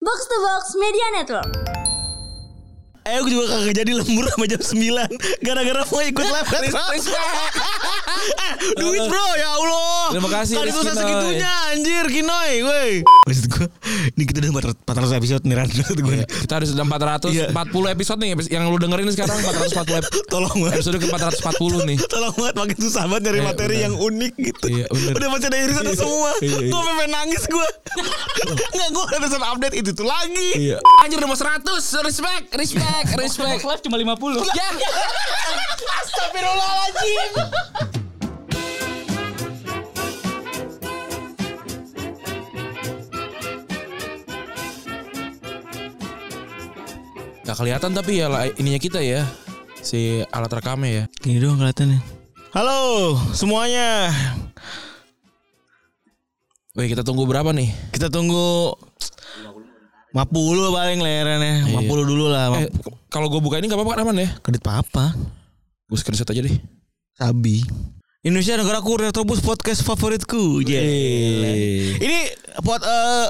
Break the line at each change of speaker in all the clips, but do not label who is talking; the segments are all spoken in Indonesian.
Box to Box Media Network.
Ayo juga kagak jadi lembur sama jam 9 Gara-gara mau ikut live kan Duit bro ya Allah
Terima kasih,
Kali itu
Rizky
saya
Noy.
segitunya anjir Kinoy woi Maksud gue Ini kita udah 400 episode nih Ran Maksud gue nih.
Kita harus udah 440
Iya.
episode nih epis- yang lu dengerin sekarang 440 ep-
Tolong banget
episode ke 440 nih.
Tolong banget makin susah banget dari
Iya,
materi
bener.
yang unik gitu
Iya, bener.
Udah baca dari sana semua
Iya, iya.
Gue pengen nangis gue Nggak gue ada pesan update itu tuh lagi
Iya. Anjir udah mau 100. Respect, respect, respect.
Live cuma 50
ya.
Astagfirullahaladzim
Gak kelihatan tapi ya lah, ininya kita ya. Si alat rekamnya ya.
Gini doang kelihatannya
Halo semuanya
Wih, kita tunggu berapa nih?
Kita tunggu 50 paling leherannya 50 dulu lah
Eh, kalau gue buka ini gak apa-apa kan aman ya?
Iya. Kedit apa
Gue screenshot aja deh.
Sabi Indonesia negaraku Retrobus podcast favoritku Iya. Yeay. Ini buat eh,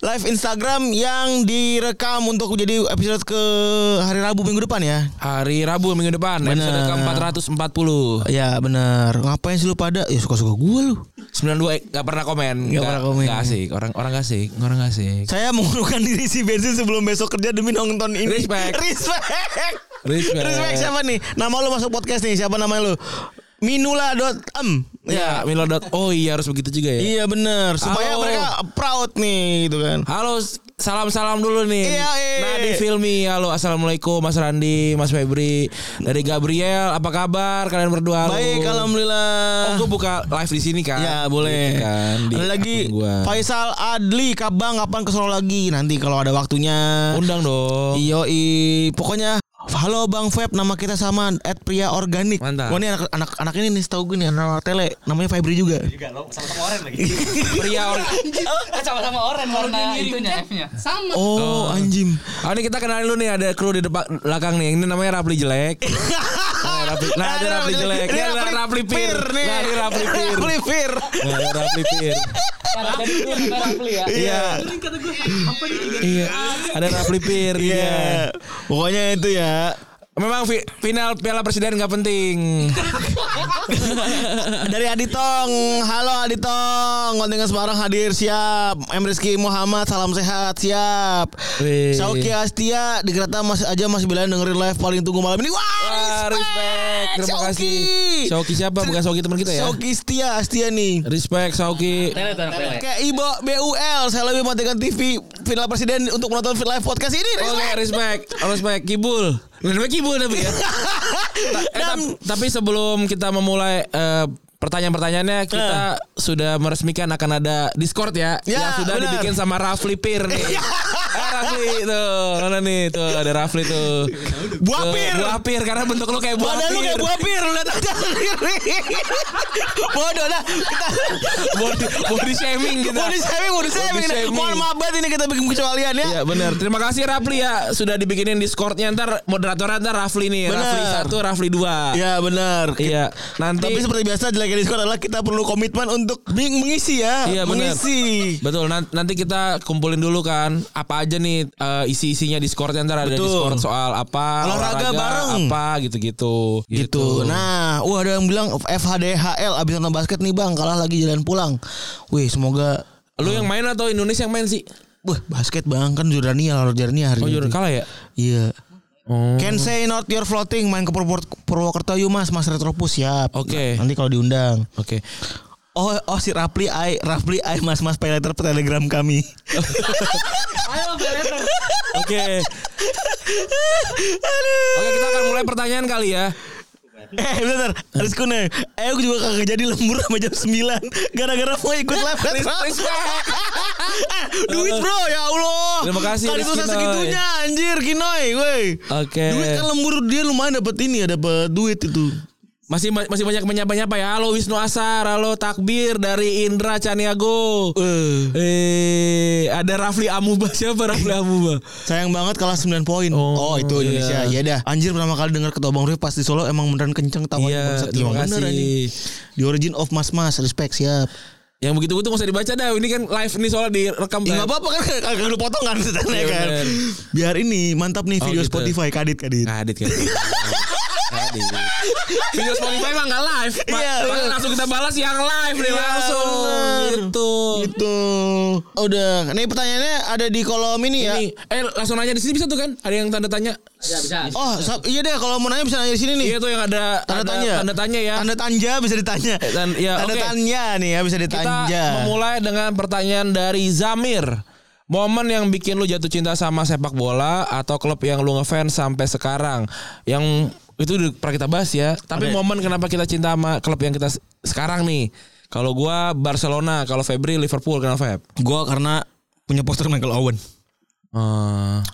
live Instagram yang direkam untuk jadi episode ke hari Rabu minggu depan ya
Hari Rabu minggu depan episode
Bener.
ke 440.
Ya bener Ngapain sih lu pada Ya suka-suka gue lu
92 gak eh, pernah komen.
Nggak pernah komen.
Gak asik. Orang orang gak asik, orang gak asik.
Saya mengurungkan diri si bensin sebelum besok kerja demi nonton ini
Respect.
Respect
Respect.
Respect siapa nih Nama lu masuk podcast nih Siapa namanya lu Minula.em
Ya, Milo. dot- Oh iya harus begitu juga ya.
Iya bener Supaya
Halo.
mereka proud nih gitu kan
Halo, salam-salam dulu nih.
Iya, iya.
Nadi Filmi, halo assalamualaikum Mas Randi, Mas Febri, dari Gabriel, apa kabar kalian berdua? Halo.
Baik alhamdulillah
Oh, gue buka live di sini kan?
Ya boleh
Gitu Kan, di
Ada lagi
akun gua.
Faisal Adli Kabang kapan ke Solo lagi Nanti kalau ada waktunya
Undang dong.
Iyo pokoknya halo Bang Feb nama kita sama at pria organik.
Mantap.
Gua nih anak anak anak ini nih setahu gue nih anak tele namanya Febri juga.
Juga lo sama-sama orang lagi.
Pria orang.
Eh, Sama-sama orang warna itunya Iya. F-nya
Sama.
Oh, anjing.
Oh, ini kita kenalin dulu nih ada kru di depan belakang nih. Ini namanya Rapli jelek. Nah, Rapli, nah, ada Rapli jelek. Ini ada Rapli pir.
nih.
Nah, ini Rapli pir.
Rapli Pir.
Nah, ada Rapli pir.
Jadi itu kita Rafli ya
Iya.
Iya. Ada Rapli pir.
Iya. Pokoknya itu ya.
Memang fi- final Piala Presiden nggak penting.
Dari Aditong, halo Aditong, kontingen Semarang hadir siap. M Rizky Muhammad, salam sehat siap.
Wih.
Sauki Astia di kereta masih aja masih bilang dengerin live paling tunggu malam ini. Wah,
Wah, respect. Terima
Shauki.
kasih. Shauki siapa? Bukan Shauki teman kita ya.
Sauki Astia, Astia nih.
Respect Shauki.
Tele tuh anak tele
Kayak Ibo BUL, saya lebih mematikan TV final presiden untuk menonton live podcast ini.
Oke,
Rizky.
respect. Respect Kibul. Namanya Kibul tapi ya. Ta- eh, tap- tapi sebelum kita memulai eh, pertanyaan-pertanyaannya
Eh.
kita sudah meresmikan akan ada Discord ya,
Ya,
yang sudah
benar. Ya.
dibikin sama Rafli Pir nih. Eh, Rafli tuh, mana nih tuh ada Rafli tuh.
Buah
Tuh,
pir.
Buah pir karena bentuk lu kayak buah
Badan lu kayak
pir.
buah pir, lu lihat aja sendiri. Bodoh dah. Kita
Body, body shaming gitu.
Body shaming, body shaming.
Body shaming.
Mohon maaf banget ini kita bikin kecualian ya.
Iya benar. Terima kasih Rafli ya sudah dibikinin Discordnya ntar moderatornya ntar Rafli nih.
Benar.
Rafli satu, Rafli dua.
Ya benar.
Iya. Nanti.
Tapi seperti biasa jeleknya Discord adalah kita perlu komitmen untuk meng- mengisi ya.
Iya, benar.
mengisi.
Betul, nan- nanti kita kumpulin dulu kan apa aja nih eh, isi-isinya Discordnya ntar ada
Betul.
Discord soal apa
Olahraga bareng.
apa gitu-gitu.
Gitu. Nah, wah ada yang bilang FHDHL abis nonton basket nih Bang, kalah lagi jalan pulang. Wih, semoga
lu yang main atau Indonesia yang main sih?
Wah, basket Bang kan Jordania lawan Jordania hari
Oh,
ini.
jujur kalah ya?
Iya.
Oh.
Can say not your floating main ke Purwo- Purwokerto yuk Mas, Mas Retropus siap. Nah,
Oke.
Nanti kalau diundang.
Oke.
Oh, oh si Rapli ai, Rapli ai mas-mas pay letter per telegram kami.
Ayo Beleter
Oke. Oke, kita akan mulai pertanyaan kali ya.
eh, bentar, harus kuno. Eh, aku juga kagak jadi lembur sama jam 9 gara-gara mau ikut live kan. Eh, Duit bro, ya Allah.
Terima kasih,
Kali itu
Rizky
saya
Noy.
segitunya anjir Kinoy, woi.
Oke.
Duit kan lembur dia lumayan dapat ini ya, dapat duit itu.
Masih masih banyak menyapa-nyapa ya. Halo Wisnu Asar, halo Takbir dari Indra Caniago.
Eh,
Eh, ada Rafli Amuba siapa Rafli Amuba?
sayang banget kalah 9 poin.
Oh,
Oh, itu Indonesia.
iya.
Ya dah. Anjir pertama kali dengar ketua Bang Rui pas di Solo emang beneran kenceng tawanya.
Iya,
bangsat.
terima
Emang bener, anjing.
kasih.
The origin of mas-mas, respect siap.
Yang begitu-begitu nggak usah dibaca dah. Ini kan live nih soalnya direkam.
Ya
Bang.
nggak apa-apa kan kagak dulu potong kan setannya
Nah. Iya,
kan.
bener.
Biar ini mantap nih
Oh,
video
gitu.
Spotify kadit kadit.
Kadit kan. Kadit. Video Spotify emang nggak live. Ma-
Iya,
makanya
bener.
langsung kita balas yang live nih
Iya,
langsung.
bener.
Gitu.
Gitu. Udah. Nih pertanyaannya ada di kolom ini ya.
Ini, eh langsung nanya di sini bisa tuh kan? Ada yang tanda tanya?
Ya bisa.
Oh, sab- iya deh kalau mau nanya bisa nanya di sini nih.
Iya tuh yang ada
Tanda
ada
tanya.
Tanda tanya ya.
Tanda tanja bisa ditanya.
tan- ya,
tanda
oke.
tanya nih ya bisa
Kita
ditanja.
memulai dengan pertanyaan dari Zamir. Momen yang bikin lu jatuh cinta sama sepak bola atau klub yang lu ngefans sampai sekarang. Yang itu udah pernah kita bahas ya. Tapi
Oke.
momen kenapa kita cinta sama klub yang kita se- sekarang nih. Kalau gua Barcelona, kalau Febri Liverpool, kenapa Feb?
Gua karena punya poster Michael Owen.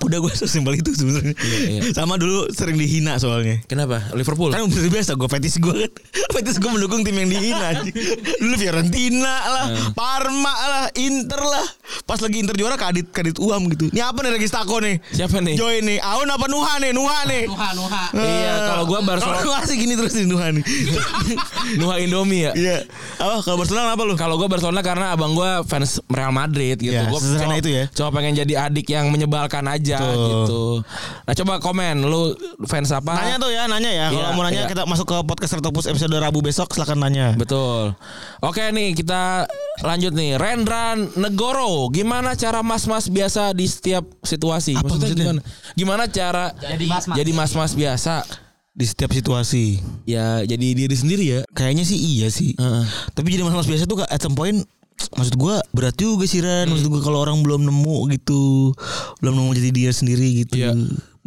Udah gue sesimpel itu sebenarnya.
iya.
Sama dulu sering dihina soalnya.
kenapa? Liverpool.
Kan udah biasa gue fetish gue kan. Fetish gue mendukung tim yang dihina. anjing. Dulu Fiorentina lah,
Hmm.
Parma lah, Inter lah. Pas lagi Inter juara kadit kadit uam gitu. Ini apa nih Registako nih?
Siapa nih?
Join nih. Aun apa Nuha nih? Nuha nih.
Nuha Nuha.
Iya,
Eh,
kalau gua Barcelona-
Kalau Nuha sih gini terus nih Nuha nih.
Nuha Indomie ya.
Iya. Apa kalau Barcelona apa lu?
Kalau gue Barcelona karena abang gue fans Real Madrid gitu.
Ya,
Gua
sesederhana
cuma-
itu ya.
Cuma pengen jadi adik yang menyebalkan aja
Betul.
gitu. Nah coba komen lu fans apa?
Nanya tuh ya, nanya ya. Kalau
Ah. Iya,
mau nanya
iya.
kita masuk ke podcast Retopus episode Rabu besok silakan nanya.
Betul. Oke nih kita lanjut nih. Rendra Negoro, gimana cara mas-mas biasa di setiap situasi?
Apa maksudnya?
gimana? Gimana cara
Jadi mas mas.
jadi mas-mas biasa?
Di setiap situasi.
Ya jadi diri sendiri ya.
Kayaknya sih iya sih.
Heeh.
Tapi jadi mas-mas biasa tuh at some point maksud gua berat juga sih Ran. Maksud gua kalau orang belum nemu gitu, belum nemu jadi dia sendiri gitu.
Iya.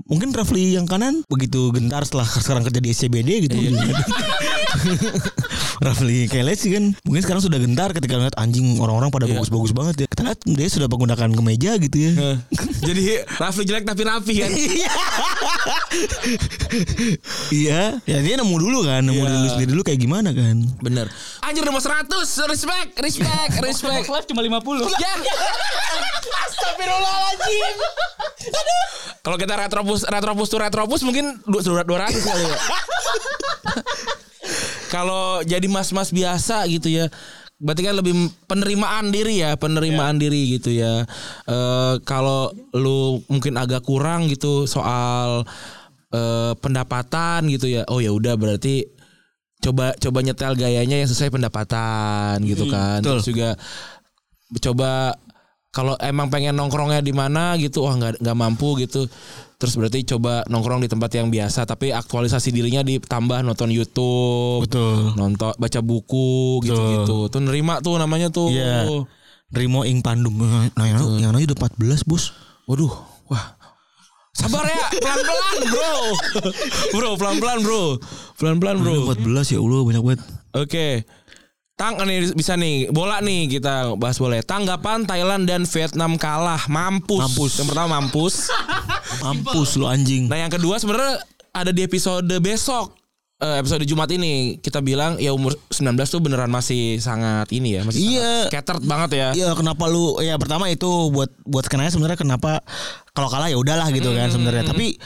Mungkin Rafli yang kanan begitu gentar setelah sekarang kerja di SCBD gitu.
Iya.
Rafli Keles sih kan mungkin sekarang sudah gentar ketika ngeliat anjing orang-orang pada
Iya.
bagus-bagus banget ya. Kita lihat dia sudah menggunakan kemeja gitu ya.
jadi Rafli jelek tapi rapi kan.
Iya, ya dia nemu dulu kan, nemu
Iya.
dulu sendiri dulu kayak gimana kan?
Bener. Anjir nomor 100, respect, respect, respect.
Box live cuma 50.
Ya. Astagfirullahaladzim. Kalau kita retropus retropus tuh retropus mungkin du- surat 200 kali ya. Kalau jadi mas-mas biasa gitu ya. Berarti kan lebih penerimaan diri ya, penerimaan diri gitu ya. Eh kalau lu mungkin agak kurang gitu soal eh, pendapatan gitu ya. Oh ya udah berarti coba coba nyetel gayanya yang sesuai pendapatan gitu kan. Terus juga coba kalau emang pengen nongkrongnya di mana gitu wah nggak nggak mampu gitu terus berarti coba nongkrong di tempat yang biasa tapi aktualisasi dirinya ditambah nonton YouTube
Betul.
nonton baca buku gitu gitu tuh nerima tuh namanya tuh
Iya. Rimo Ing Pandum. Nah, yang, yang namanya udah 14, Bos.
waduh wah sabar ya pelan pelan bro bro pelan pelan bro pelan pelan bro
Udah 14 ya Allah, banyak banget.
Oke. Tang nih bisa nih bola nih kita bahas boleh. Tanggapan Thailand dan Vietnam kalah mampus.
Mampus.
Yang pertama mampus.
Mampus lu anjing.
Nah yang kedua sebenarnya ada di episode besok Eh, episode Jumat ini kita bilang ya umur 19 tuh beneran masih sangat ini ya masih
Iya.
sangat scattered banget ya.
Iya kenapa lu ya pertama itu buat buat skenanya sebenarnya kenapa kalau kalah ya udahlah gitu kan sebenarnya tapi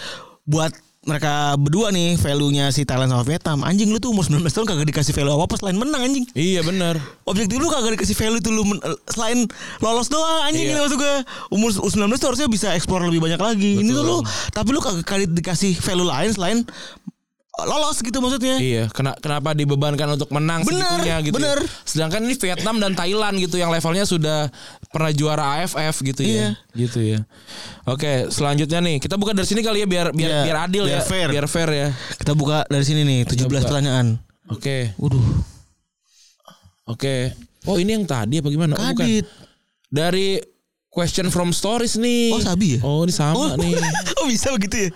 buat mereka berdua nih value-nya si Thailand sama Vietnam anjing lu tuh umur 19 tahun kagak dikasih value apa-apa selain menang anjing
Iya bener
objektif lu kagak dikasih value tuh lu men- selain lolos doang anjing
Iya.
ini maksud gue umur 19 tuh harusnya bisa eksplor lebih banyak lagi ini tuh lu tapi lu kagak kali dikasih value lain selain eh, lolos gitu maksudnya
Iya, kena- kenapa dibebankan untuk menang
Bener,
segitunya gitu. ya.
bener.
Sedangkan ini Vietnam dan Thailand gitu yang levelnya sudah pernah juara AFF gitu
Iya.
ya. Gitu ya. Oke, selanjutnya nih kita buka dari sini kali ya biar biar
Iya,
biar adil
biar
ya,
fair.
biar fair ya.
kita buka dari sini nih 17
buka.
pertanyaan
Oke,
waduh
oke. Oh, ini yang tadi apa gimana? Oh, bukan.
kadit
Dari question from stories nih.
Oh, Sabi ya?
Oh, ini sama
oh,
nih.
oh bisa begitu ya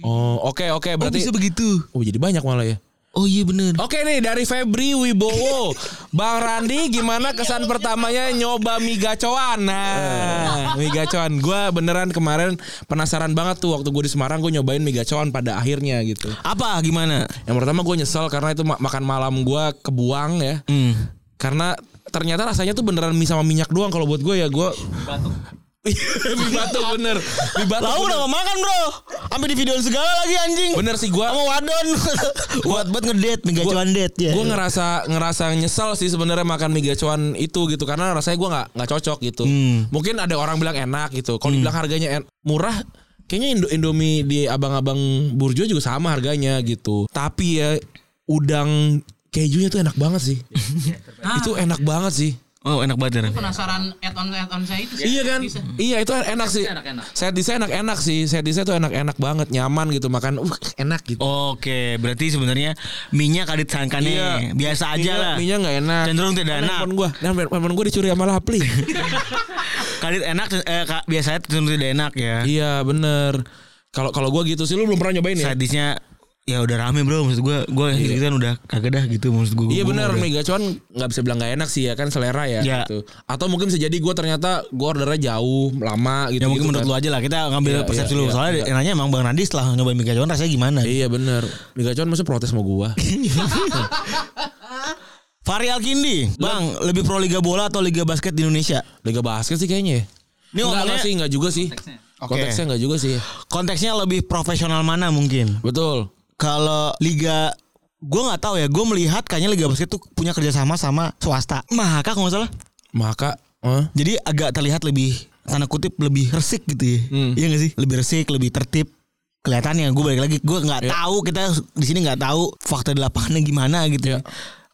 Oh, oke
oh
oke berarti
bisa begitu
Oh, jadi banyak malah ya.
oh iya bener
Oke nih dari Febri Wibowo Bang Randi gimana kesan pertamanya nyoba mie gacoan Nah mie gacoan Gue beneran kemarin penasaran banget tuh Waktu gue di Semarang gue nyobain mie gacoan pada akhirnya gitu
apa gimana
Yang pertama gue nyesel karena itu ma- makan malam gue kebuang ya
hmm.
Karena ternyata rasanya tuh beneran mie sama minyak doang Kalau buat gue ya gue
Batuk.
Mie batu bener Mie batu
Lau
bener.
udah makan bro Sampai di videoin segala lagi anjing.
Bener sih gua.
Sama wadon. Buat buat ngedate mega
Gua-
cuan date ya.
Gue ngerasa ngerasa nyesel sih sebenarnya makan mie gacoan itu gitu karena rasanya gue nggak nggak cocok gitu.
Hmm.
Mungkin ada orang bilang enak gitu. Kalau dibilang harganya en- murah, kayaknya Indo- Indomie di abang-abang burjo juga sama harganya gitu. Tapi ya udang kejunya tuh enak banget sih. itu enak banget sih.
Oh enak banget. Ren.
Penasaran add on add on saya itu sih.
Iya kan?
Bisa.
Iya itu enak sih.
enak-enak.
Saya di saya enak-enak sih. Saya di saya tuh enak-enak banget, nyaman gitu makan. Uh, enak
Oh,
gitu.
Oke, berarti sebenarnya minyak kadit sangkannya
Iya.
biasa aja lah.
Minyak nggak enak.
Cenderung tidak
Karena
enak.
Handphone gue, handphone gue dicuri sama Lapli.
Kadit enak eh, ka- biasanya cenderung tidak enak ya.
iya bener. Kalau kalau gue gitu sih, lu belum pernah nyobain ya?
Sadisnya ya udah rame bro maksud gue gue gitu kan udah kagak dah gitu maksud gue
Iya
Gua
bener,
udah-
mega cuan nggak bisa bilang nggak enak sih ya kan selera ya.
Iya.
Gitu. Atau mungkin bisa jadi gue ternyata gue ordernya jauh, lama gitu.
ya mungkin menurut lu aja lah kita ngambil
Iya,
persepsi
iya,
lu
iya,
soalnya
iya.
enaknya emang bang Nandi setelah nyobain mie gacoan rasanya gimana
Iya bener. Mega cuan masa protes sama gue.
Fahri Alkindi bang lebih pro liga bola atau liga basket di Indonesia
Liga basket sih
Ini
kayaknya. ya. Nggak,
ngomongnya-
nggak sih nggak juga sih.
Konteksnya.
Oke.
Konteksnya nggak juga sih.
konteksnya lebih profesional mana mungkin
Betul.
kalau liga gue nggak tahu ya gue melihat kayaknya liga basket tuh punya kerjasama sama swasta maka kalau nggak salah
Maka eh?
jadi agak terlihat lebih tanda kutip lebih resik gitu ya
Hmm.
iya gak sih lebih resik lebih tertib kelihatannya gue balik lagi gue nggak tahu kita di sini nggak tahu fakta di lapangannya gimana gitu ya.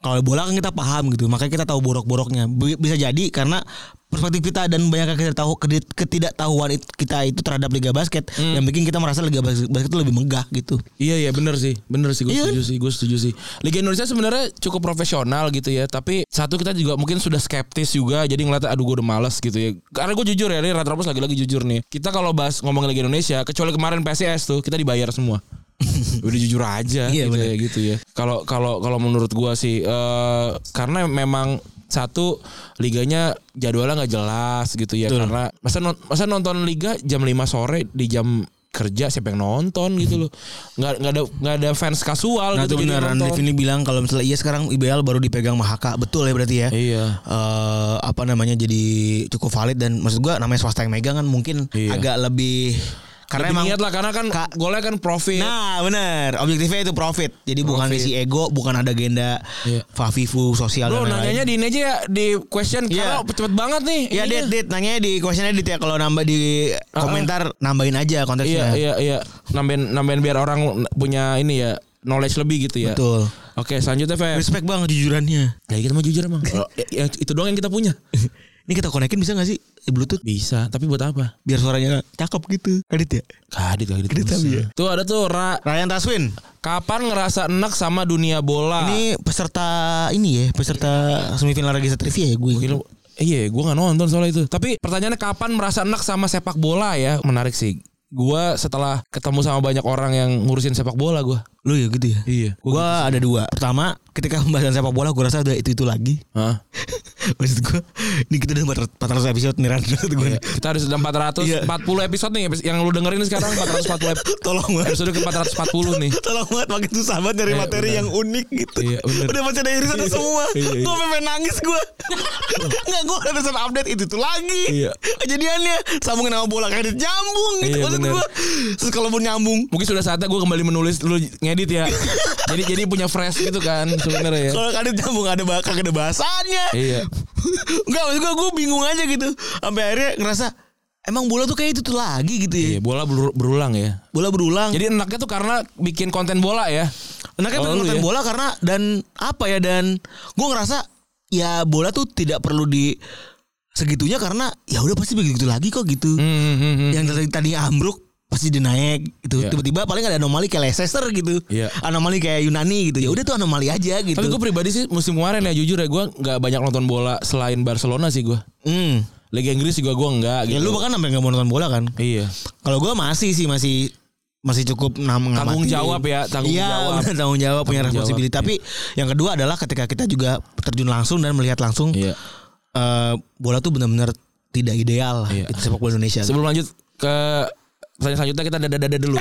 kalau bola kan kita paham gitu makanya kita tahu borok-boroknya B- bisa jadi karena perspektif kita dan banyak kita tahu kedi- ketidaktahuan it- kita itu terhadap liga basket yang bikin kita merasa liga bas- basket itu lebih megah gitu
Iya iya bener sih Bener sih gue
Iya kan?
setuju sih Gue setuju sih Liga Indonesia sebenarnya cukup profesional gitu ya Tapi satu kita juga mungkin sudah skeptis juga Jadi ngeliat aduh gue udah males gitu ya Karena gue jujur ya Ini Rata Rapus lagi-lagi jujur nih Kita kalau bahas ngomongin Liga Indonesia Kecuali kemarin PSIS tuh Kita dibayar semua udah jujur aja
Iya,
gitu
bener.
ya gitu ya kalau kalau kalau menurut gua sih eh, karena memang satu liganya jadwalnya nggak jelas gitu ya karena masa non- masa nonton liga jam 5 sore di jam kerja siapa yang nonton gitu loh nggak nggak ada nggak ada fans kasual
Nah
gitu
itu benar
nonton.
Ranif ini bilang kalau misalnya iya sekarang IBL baru dipegang Mahaka betul ya berarti ya.
Iya.
Eh, apa namanya jadi cukup valid dan maksud gua namanya swasta yang megang kan mungkin
Iya.
agak lebih karena
Lebih
emang
niat lah karena kan
Ka-
golnya kan profit
Nah benar objektifnya itu profit jadi bukan
Profit.
isi ego bukan ada agenda
Iya.
fafifu sosial dan
Bro
lain-lain.
nanyanya di ini aja ya di question
Iya.
kalau cepet banget nih
Ya
ininya.
Dit, Dit nanya di questionnya Dit ya kalau nambah di komentar nambahin aja
Iya
konteksnya.
iya iya nambahin nambahin biar orang punya ini ya knowledge lebih gitu ya.
Betul.
Oke selanjutnya Feb.
Respect bang kejujurannya.
Ya kita mau jujur emang. Ya, itu doang yang kita punya.
Ini kita konekin bisa gak sih Bluetooth
Bisa, tapi buat apa?
biar suaranya cakep gitu. Kadit ya.
Kadit kadit.
Kadit tapi ya.
Tuh ada tuh Ra.
Ryan Taswin.
Kapan ngerasa enak sama dunia bola?
Ini peserta ini ya, peserta semifinal Regisa Trivia ya gue.
Gila, Iya, gua nggak nonton soal itu. Tapi pertanyaannya kapan merasa enak sama sepak bola ya? Menarik sih. Gua setelah ketemu sama banyak orang yang ngurusin sepak bola gua.
Lu ya gitu ya.
Iya.
Gue ada dua. Pertama, ketika pembahasan sepak bola gue rasa udah itu-itu lagi.
Hah?
Maksud gue, ini kita udah 400 episode nih Ran. Maksud gue. nih.
Ya, Kita harus udah
Iya.
440 episode nih yang lu dengerin sekarang 440 ep-
Tolong banget.
episode ke 440 nih.
Tolong banget makin susah banget nyari
Iya,
materi
bener.
yang unik gitu.
Iya, bener.
udah baca dari sana semua.
iya, iya.
Gue pengen nangis gue. Enggak gue udah pesan update itu tuh lagi.
Iya.
Kejadiannya sambungin sama bola kayak nyambung gitu
Iya,
maksud
bener.
gue. Terus kalaupun nyambung
mungkin sudah saatnya gue kembali menulis lu ngedit ya jadi jadi punya fresh gitu kan sebenarnya ya
Kalau kadit nyambung ada bakal ada bahasannya.
iya
Enggak maksud gue gue bingung aja gitu. Sampai akhirnya ngerasa emang bola tuh kayak itu tuh lagi gitu ya.
iya bola beru- berulang ya
Bola berulang. Jadi
jadi enaknya tuh karena bikin konten bola ya
enaknya
Kalau
pengen
lu
nonton
ya?
bola karena dan apa ya dan gue ngerasa ya bola tuh tidak perlu di segitunya karena ya udah pasti begitu lagi kok gitu.
Hmm, hmm, hmm, hmm.
Yang dari tadi ambruk pasti dia naik gitu.
Iya.
Tiba-tiba paling ada anomali kayak Leicester gitu.
Iya.
Anomali kayak Yunani gitu. Ya udah tuh anomali aja gitu.
tapi gue pribadi sih musim kemarin ya jujur ya gue nggak banyak nonton bola selain Barcelona sih gue
Hmm.
Liga Inggris juga gue nggak
Ya
gitu
lu bahkan sampai nggak mau nonton bola kan?
iya
Kalau gua masih sih masih masih cukup nam
Tanggung
ngamati.
jawab ya, tanggung
Iya,
jawab.
benar, tanggung jawab punya
Tanggung
responsibilitas.
jawab, iya.
Tapi yang kedua adalah ketika kita juga terjun langsung dan melihat langsung
iya
eh, bola tuh benar-benar tidak ideal lah
Iya.
di sepak bola Indonesia.
sebelum lanjut ke pertanyaan selanjutnya kita dada dada dulu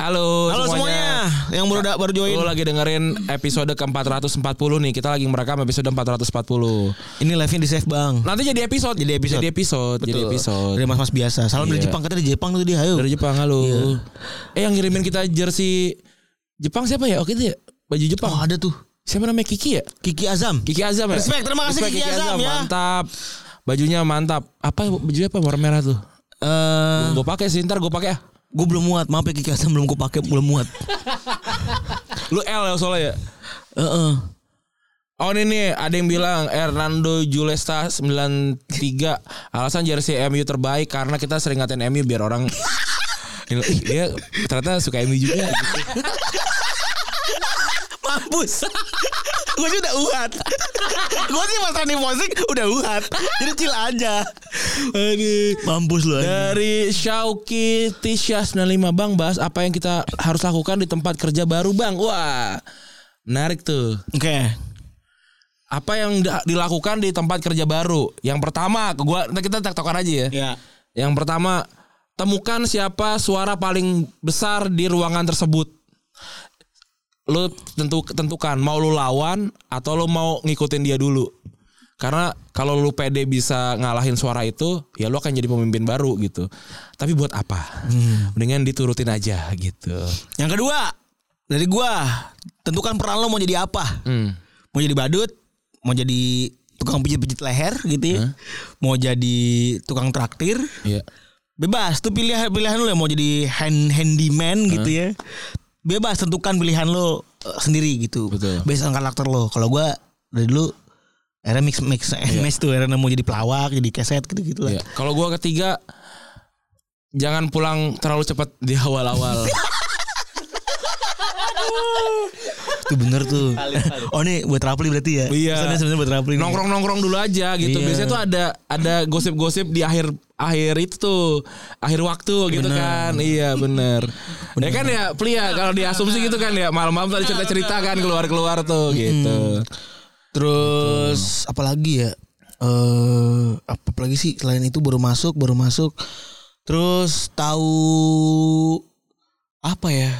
halo,
Eh! Halo semuanya. Nah, yang baru baru join.
Lu lagi dengerin episode ke-440 nih. Kita lagi merekam episode 440.
Ini live-nya di Save Bang.
Nanti jadi episode.
Jadi episode.
Jadi episode. Jadi episode.
Dari mas-mas biasa. Salam dari
Iya.
Jepang. Katanya dari Jepang tuh Iya. dia. Ayo.
Dari Jepang halo. Eh yang ngirimin kita jersey Jepang siapa ya? Oke itu ya. Baju Jepang.
Oh, ada tuh.
Siapa namanya Kiki ya?
Kiki Azam.
Kiki Azam ya?
Respect, terima kasih
Respect
Kiki Azam, ya.
Mantap. Bajunya mantap. Apa bajunya apa warna merah tuh?
Eh,
Gue pakai sih ntar gue pakai ah.
gue belum muat. Maaf ya Kiki Azam belum gue pakai, belum muat.
Lu L ya soalnya ya.
Heeh.
Oh ini nih ada yang bilang Hernando Julesta 93 alasan jersey MU terbaik karena kita sering ngatain MU biar orang Ih, dia ternyata suka MU juga gitu.
Mampus. gue sih udah uhat. gue sih pas Rani Mosik udah uhat. Jadi chill aja.
Aduh.
Mampus lu. anjing.
Dari Syauki Tisha 95 Bang bahas apa yang kita harus lakukan di tempat kerja baru Bang. Wah. Menarik tuh.
Oke.
Apa yang da- dilakukan di tempat kerja baru? Yang pertama, gua ntar kita tektokan aja ya.
Ya.
Yang pertama, temukan siapa suara paling besar di ruangan tersebut. Lu tentu tentukan mau lu lawan atau lu mau ngikutin dia dulu. Karena kalau lu pede bisa ngalahin suara itu, ya lu akan jadi pemimpin baru gitu. Tapi buat apa? Mendingan diturutin aja gitu.
Yang kedua dari gua tentukan peran lo mau jadi apa.
Hmm.
Mau jadi badut, mau jadi tukang pijit-pijit leher gitu ya. Mau jadi tukang traktir.
Iya.
Bebas tuh pilihan pilihan lo ya mau jadi hand handyman gitu ya. Bebas tentukan pilihan lo eh, sendiri gitu.
Betul.
Based on karakter lo. Kalau gua dari dulu era mix mix eh, mix tuh era mau jadi pelawak, jadi keset gitu-gitu lah.
Iya. Kalau gua ketiga jangan pulang terlalu cepat di awal-awal.
Tuh bener tuh. oh nih buat Rapli berarti ya.
Iya.
Pesannya sebenarnya buat Rapli. nih.
nongkrong nongkrong dulu aja gitu
gitu. Iya.
biasanya tuh ada ada gosip gosip di akhir akhir itu tuh akhir waktu gitu kan iya bener, ya kan ya plia kalau diasumsi gitu kan ya malam-malam tadi cerita cerita kan keluar keluar tuh gitu
Terus apalagi ya? Eh apa apalagi sih selain itu baru masuk, baru masuk. Terus tahu apa ya?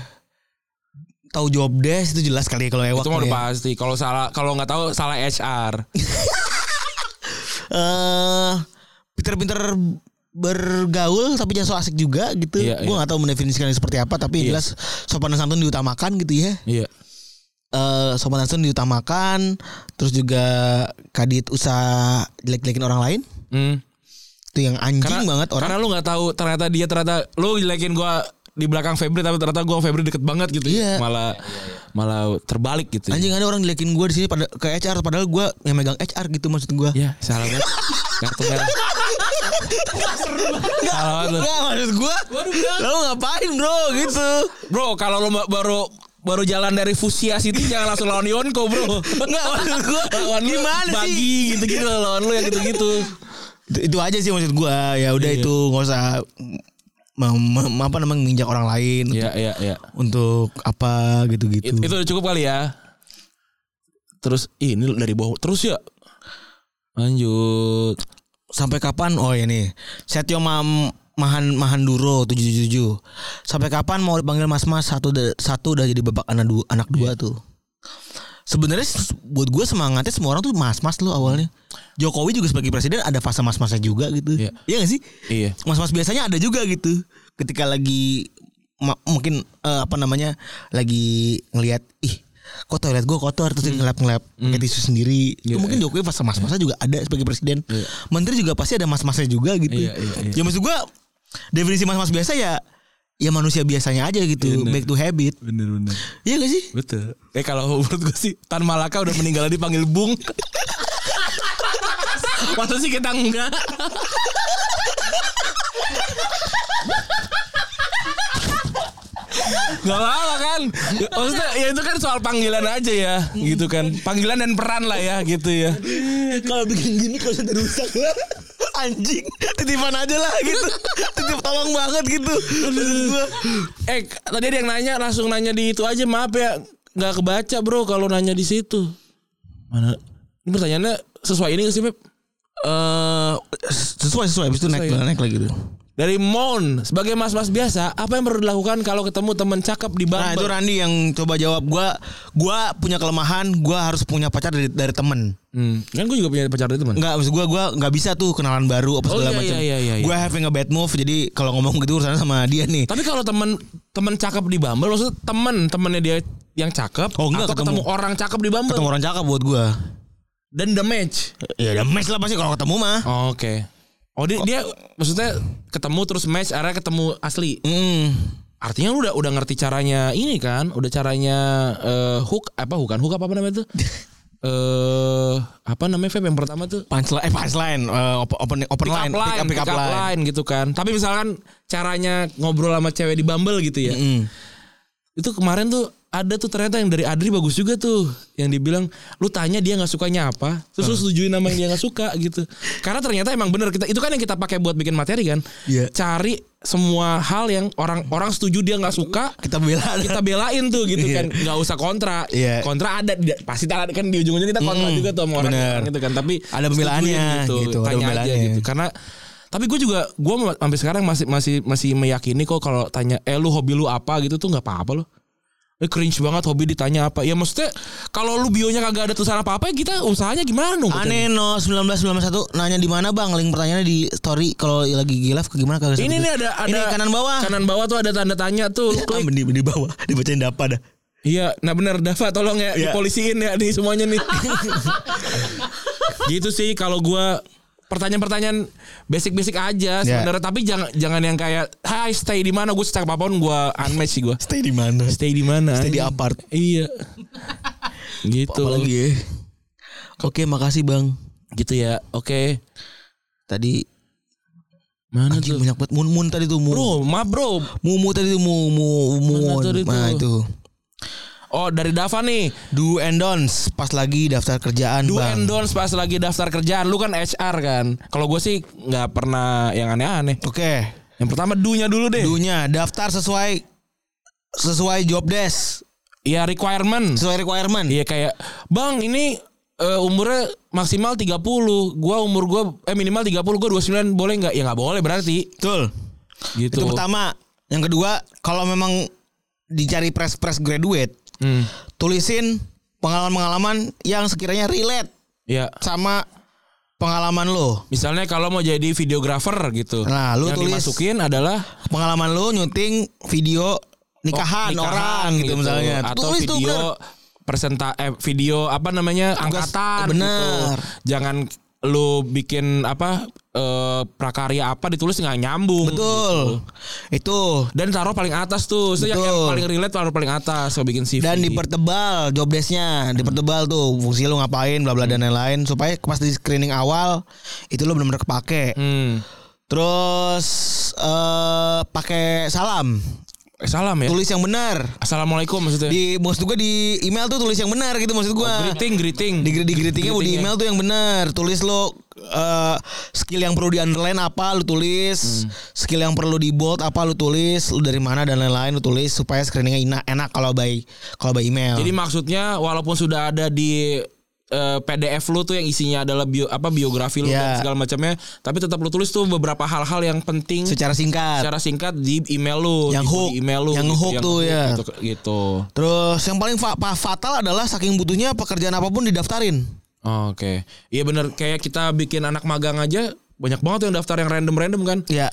Tahu job desk itu jelas kali ya kalau ewak.
itu mah
kali
udah
ya.
pasti kalau salah kalau nggak tahu salah HR
eh pinter-pinter bergaul tapi jangan so asik juga gitu.
Iya,
Gue
iya.
nggak tahu mendefinisikannya seperti apa tapi yang
Iya.
jelas sopan dan santun diutamakan gitu ya.
iya
eh sopan dan santun diutamakan, terus juga kadit usaha jelek-jelekin orang lain.
hmm.
Itu yang anjing
karena
banget orang.
karena lu nggak tahu ternyata dia ternyata lu jelekin gua di belakang Febri tapi ternyata gua Febri deket banget gitu
Iya.
ya. malah malah terbalik gitu
Anjing ada orang jelekin gue di sini pada ke HR padahal gue yang megang HR gitu maksud gue.
ya salah banget kartu merah salah banget lu.
Enggak maksud gue. Lalu ngapain bro gitu?
Bro, kalau lo ma- baru baru jalan dari Fusia City jangan langsung lawan Yonko, Bro.
Enggak maksud gue.
lawan lu
Gimana
bagi,
sih?
gitu-gitu loh, lawan lu yang gitu-gitu.
Itu, itu aja sih maksud gue. Ya udah
Iya.
itu nggak usah mem, mem- apa namanya menginjak orang lain
Iya, iya, iya.
untuk apa gitu-gitu.
It- itu udah cukup kali ya. Terus ih, ini dari bawah terus ya. Lanjut.
sampai kapan oh ini Setio Mam Mahan Mahanduro 777 sampai kapan mau dipanggil Mas Mas satu da- satu udah jadi babak anak dua anak dua tuh sebenarnya s- buat gue semangatnya semua orang tuh Mas Mas lo awalnya Jokowi juga sebagai presiden ada fase Mas Masnya juga gitu
Iya.
iya gak sih
Iya.
Mas Mas biasanya ada juga gitu ketika lagi ma- mungkin eh, apa namanya lagi ngelihat ih kok toilet gue kotor terus dia ngelap-ngelap pakai tisu sendiri. Itu
Hmm. Iya,
mungkin Jokowi pas masa-masa juga ada sebagai presiden. Menteri juga pasti ada mas-masnya juga gitu.
Iya, iya, iya.
Ya maksud gue definisi mas-mas biasa ya ya manusia biasanya aja
Iya,
gitu, back to habit.
Bener bener.
Iya gak sih?
Betul. Eh kalau menurut gue sih Tan Malaka udah meninggal dipanggil Bung. Masa sih kita enggak? Gak apa-apa kan Maksudnya ya itu kan soal panggilan aja ya Gitu kan Panggilan dan peran lah ya gitu ya
Kalau bikin gini kalau sudah rusak lah. Anjing, titipan aja lah gitu. Titip tolong banget gitu. Maksud gua,
Eh k- tadi ada yang nanya Langsung nanya di itu aja Maaf ya Gak kebaca bro Kalau nanya di situ Mana Ini pertanyaannya Sesuai ini gak sih Pep?
Eh sesuai sesuai habis itu naik
Sesuai. ya?
naik lagi tuh.
Dari Mon, sebagai mas-mas biasa, apa yang perlu dilakukan kalau ketemu temen cakep di Bumble?
Nah itu Randi yang coba jawab gua gua punya kelemahan gua harus punya pacar dari dari temen
Hmm, Kan gue juga punya pacar dari teman.
Enggak maksud gua gua nggak bisa tuh kenalan baru apa
Oh,
segala
iya,
macam.
iya, iya, iya.
Gua having a bad move jadi kalau ngomong gitu urusannya sama dia nih.
Tapi kalau temen temen cakep di Bumble, maksudnya temen temennya dia yang cakep,
Oh, enggak,
atau ketemu,
ketemu.
orang cakep di Bumble
Ketemu orang cakep buat gua.
dan the match.
Ya udah match lah pasti kalau ketemu mah.
Oh, Oke. Oh dia, dia maksudnya ketemu terus match, akhirnya ketemu asli.
Mm.
Artinya lu udah udah ngerti caranya ini kan, udah caranya eh, hook apa bukan hook apa, apa namanya tuh? Eh apa namanya Feb yang pertama tuh?
Punchline eh punchline eh, open open, open
Pick up
line,
line, pick up line. gitu kan. Tapi misalkan caranya ngobrol sama cewek di Bumble gitu ya.
Mm.
Itu kemarin tuh ada tuh ternyata yang dari Adri bagus juga tuh yang dibilang lu tanya dia nggak sukanya apa terus lu setujuin nama yang dia nggak suka gitu karena ternyata emang bener kita itu kan yang kita pakai buat bikin materi kan
Iya.
cari semua hal yang orang orang setuju dia nggak suka
Kita bela.
kita belain tuh gitu
Iya.
kan nggak usah kontra
Iya.
kontra ada di- pasti ada kan di ujung-ujungnya kita kontra
Mm,
juga tuh sama orang,
bener.
gitu kan tapi
Ada pembelaannya
setujuin
gitu, ada
tanya aja
pembelaannya.
gitu karena tapi gue juga gue sampai sekarang masih masih masih meyakini kok kalau tanya eh lu hobi lu apa gitu tuh nggak apa-apa loh Eh, cringe banget hobi ditanya apa ya maksudnya kalau lu bionya kagak ada tulisan apa-apa ya kita usahanya gimana dong
Aneh no 1991 nanya di mana Bang? Link pertanyaannya di story kalau lagi gilaf ke gimana kagak
ini nih ada ada
Ini kanan bawah.
kanan bawah tuh ada tanda tanya tuh
Ah,
lu klik
di, di bawah dibacain dapa dah.
Iya, nah benar Dava tolong ya
Iya.
dipolisiin ya nih semuanya nih. gitu sih kalau gua pertanyaan-pertanyaan basic-basic aja
Iya.
sebenarnya tapi jangan jangan yang kayak hai stay di mana gue setiap apapun gua unmatch sih gua.
Stay di mana?
Stay di mana?
Stay di apart.
Iya. gitu.
Apalagi ya. Oke, makasih Bang.
Gitu ya. Oke.
Tadi
Mana
anjing
tuh?
banyak banget mun mun tadi tuh mun.
Bro, maaf bro.
Mumu tadi tuh mumu
Mana
mumun.
tadi
Nah
tuh?
itu.
Oh, dari Dava nih.
Do and don'ts pas lagi daftar kerjaan
Do
bang.
and don'ts pas lagi daftar kerjaan. Lu kan HR kan. Kalau gue sih nggak pernah yang aneh-aneh.
Oke.
Yang pertama do-nya dulu deh.
Do-nya daftar sesuai sesuai job desk,
Ya requirement.
sesuai requirement.
Iya kayak Bang ini eh, umurnya maksimal 30 Gua umur gua Eh minimal 30 Gua 29 boleh nggak? Ya nggak boleh berarti
Betul.
Gitu
Itu pertama. Yang kedua, kalau memang dicari press-press graduate,
Hmm.
tulisin pengalaman-pengalaman yang sekiranya relate
Ya
sama pengalaman lo.
Misalnya kalau mau jadi videographer gitu
Nah, lu
Yang
tulis.
dimasukin adalah
Pengalaman lo nyuting video nikahan, orang gitu, misalnya.
Oh, Atau
Tulis tuh
video
bener.
persenta eh, Video apa namanya
Tugas-
Angkatan
bener.
gitu. Jangan lu bikin apa eh, prakarya apa ditulis nggak nyambung
Betul. Itu
dan taruh paling atas tuh Itu yang, yang
Betul.
paling relate taruh paling atas kalau bikin CV
dan dipertebal job desk-nya, dipertebal tuh fungsi lo ngapain bla bla dan lain-lain supaya pas di screening awal itu lo benar-benar kepake.
Hmm.
Terus eh pakai salam.
Eh, Salam ya.
Tulis yang benar.
Assalamualaikum maksudnya.
Di maksud gue di email tuh tulis yang benar gitu maksud gue.
greeting, greeting.
di, di greetingnya di
Greeting-nya.
email tuh yang benar tulis lo eh, skill yang perlu di underline apa lu
Hmm.
tulis skill yang perlu di bold apa lu tulis lu dari mana dan lain-lain lu tulis supaya screeningnya enak enak kalau by kalau by email
Jadi maksudnya walaupun sudah ada di eh, PDF lu tuh yang isinya adalah bio, apa biografi lu dan
Iya.
segala macamnya, tapi tetap lu tulis tuh beberapa hal-hal yang penting
secara singkat
secara singkat di email lu, gitu,
Yang
di-
hook.
di email lu,
Yang hook tuh, ya.
gitu, gitu.
terus yang paling fa- fa- fatal adalah saking butuhnya pekerjaan apapun didaftarin
Oh, Oke, iya bener kayak kita bikin anak magang aja banyak banget tuh yang daftar yang random-random kan.
ya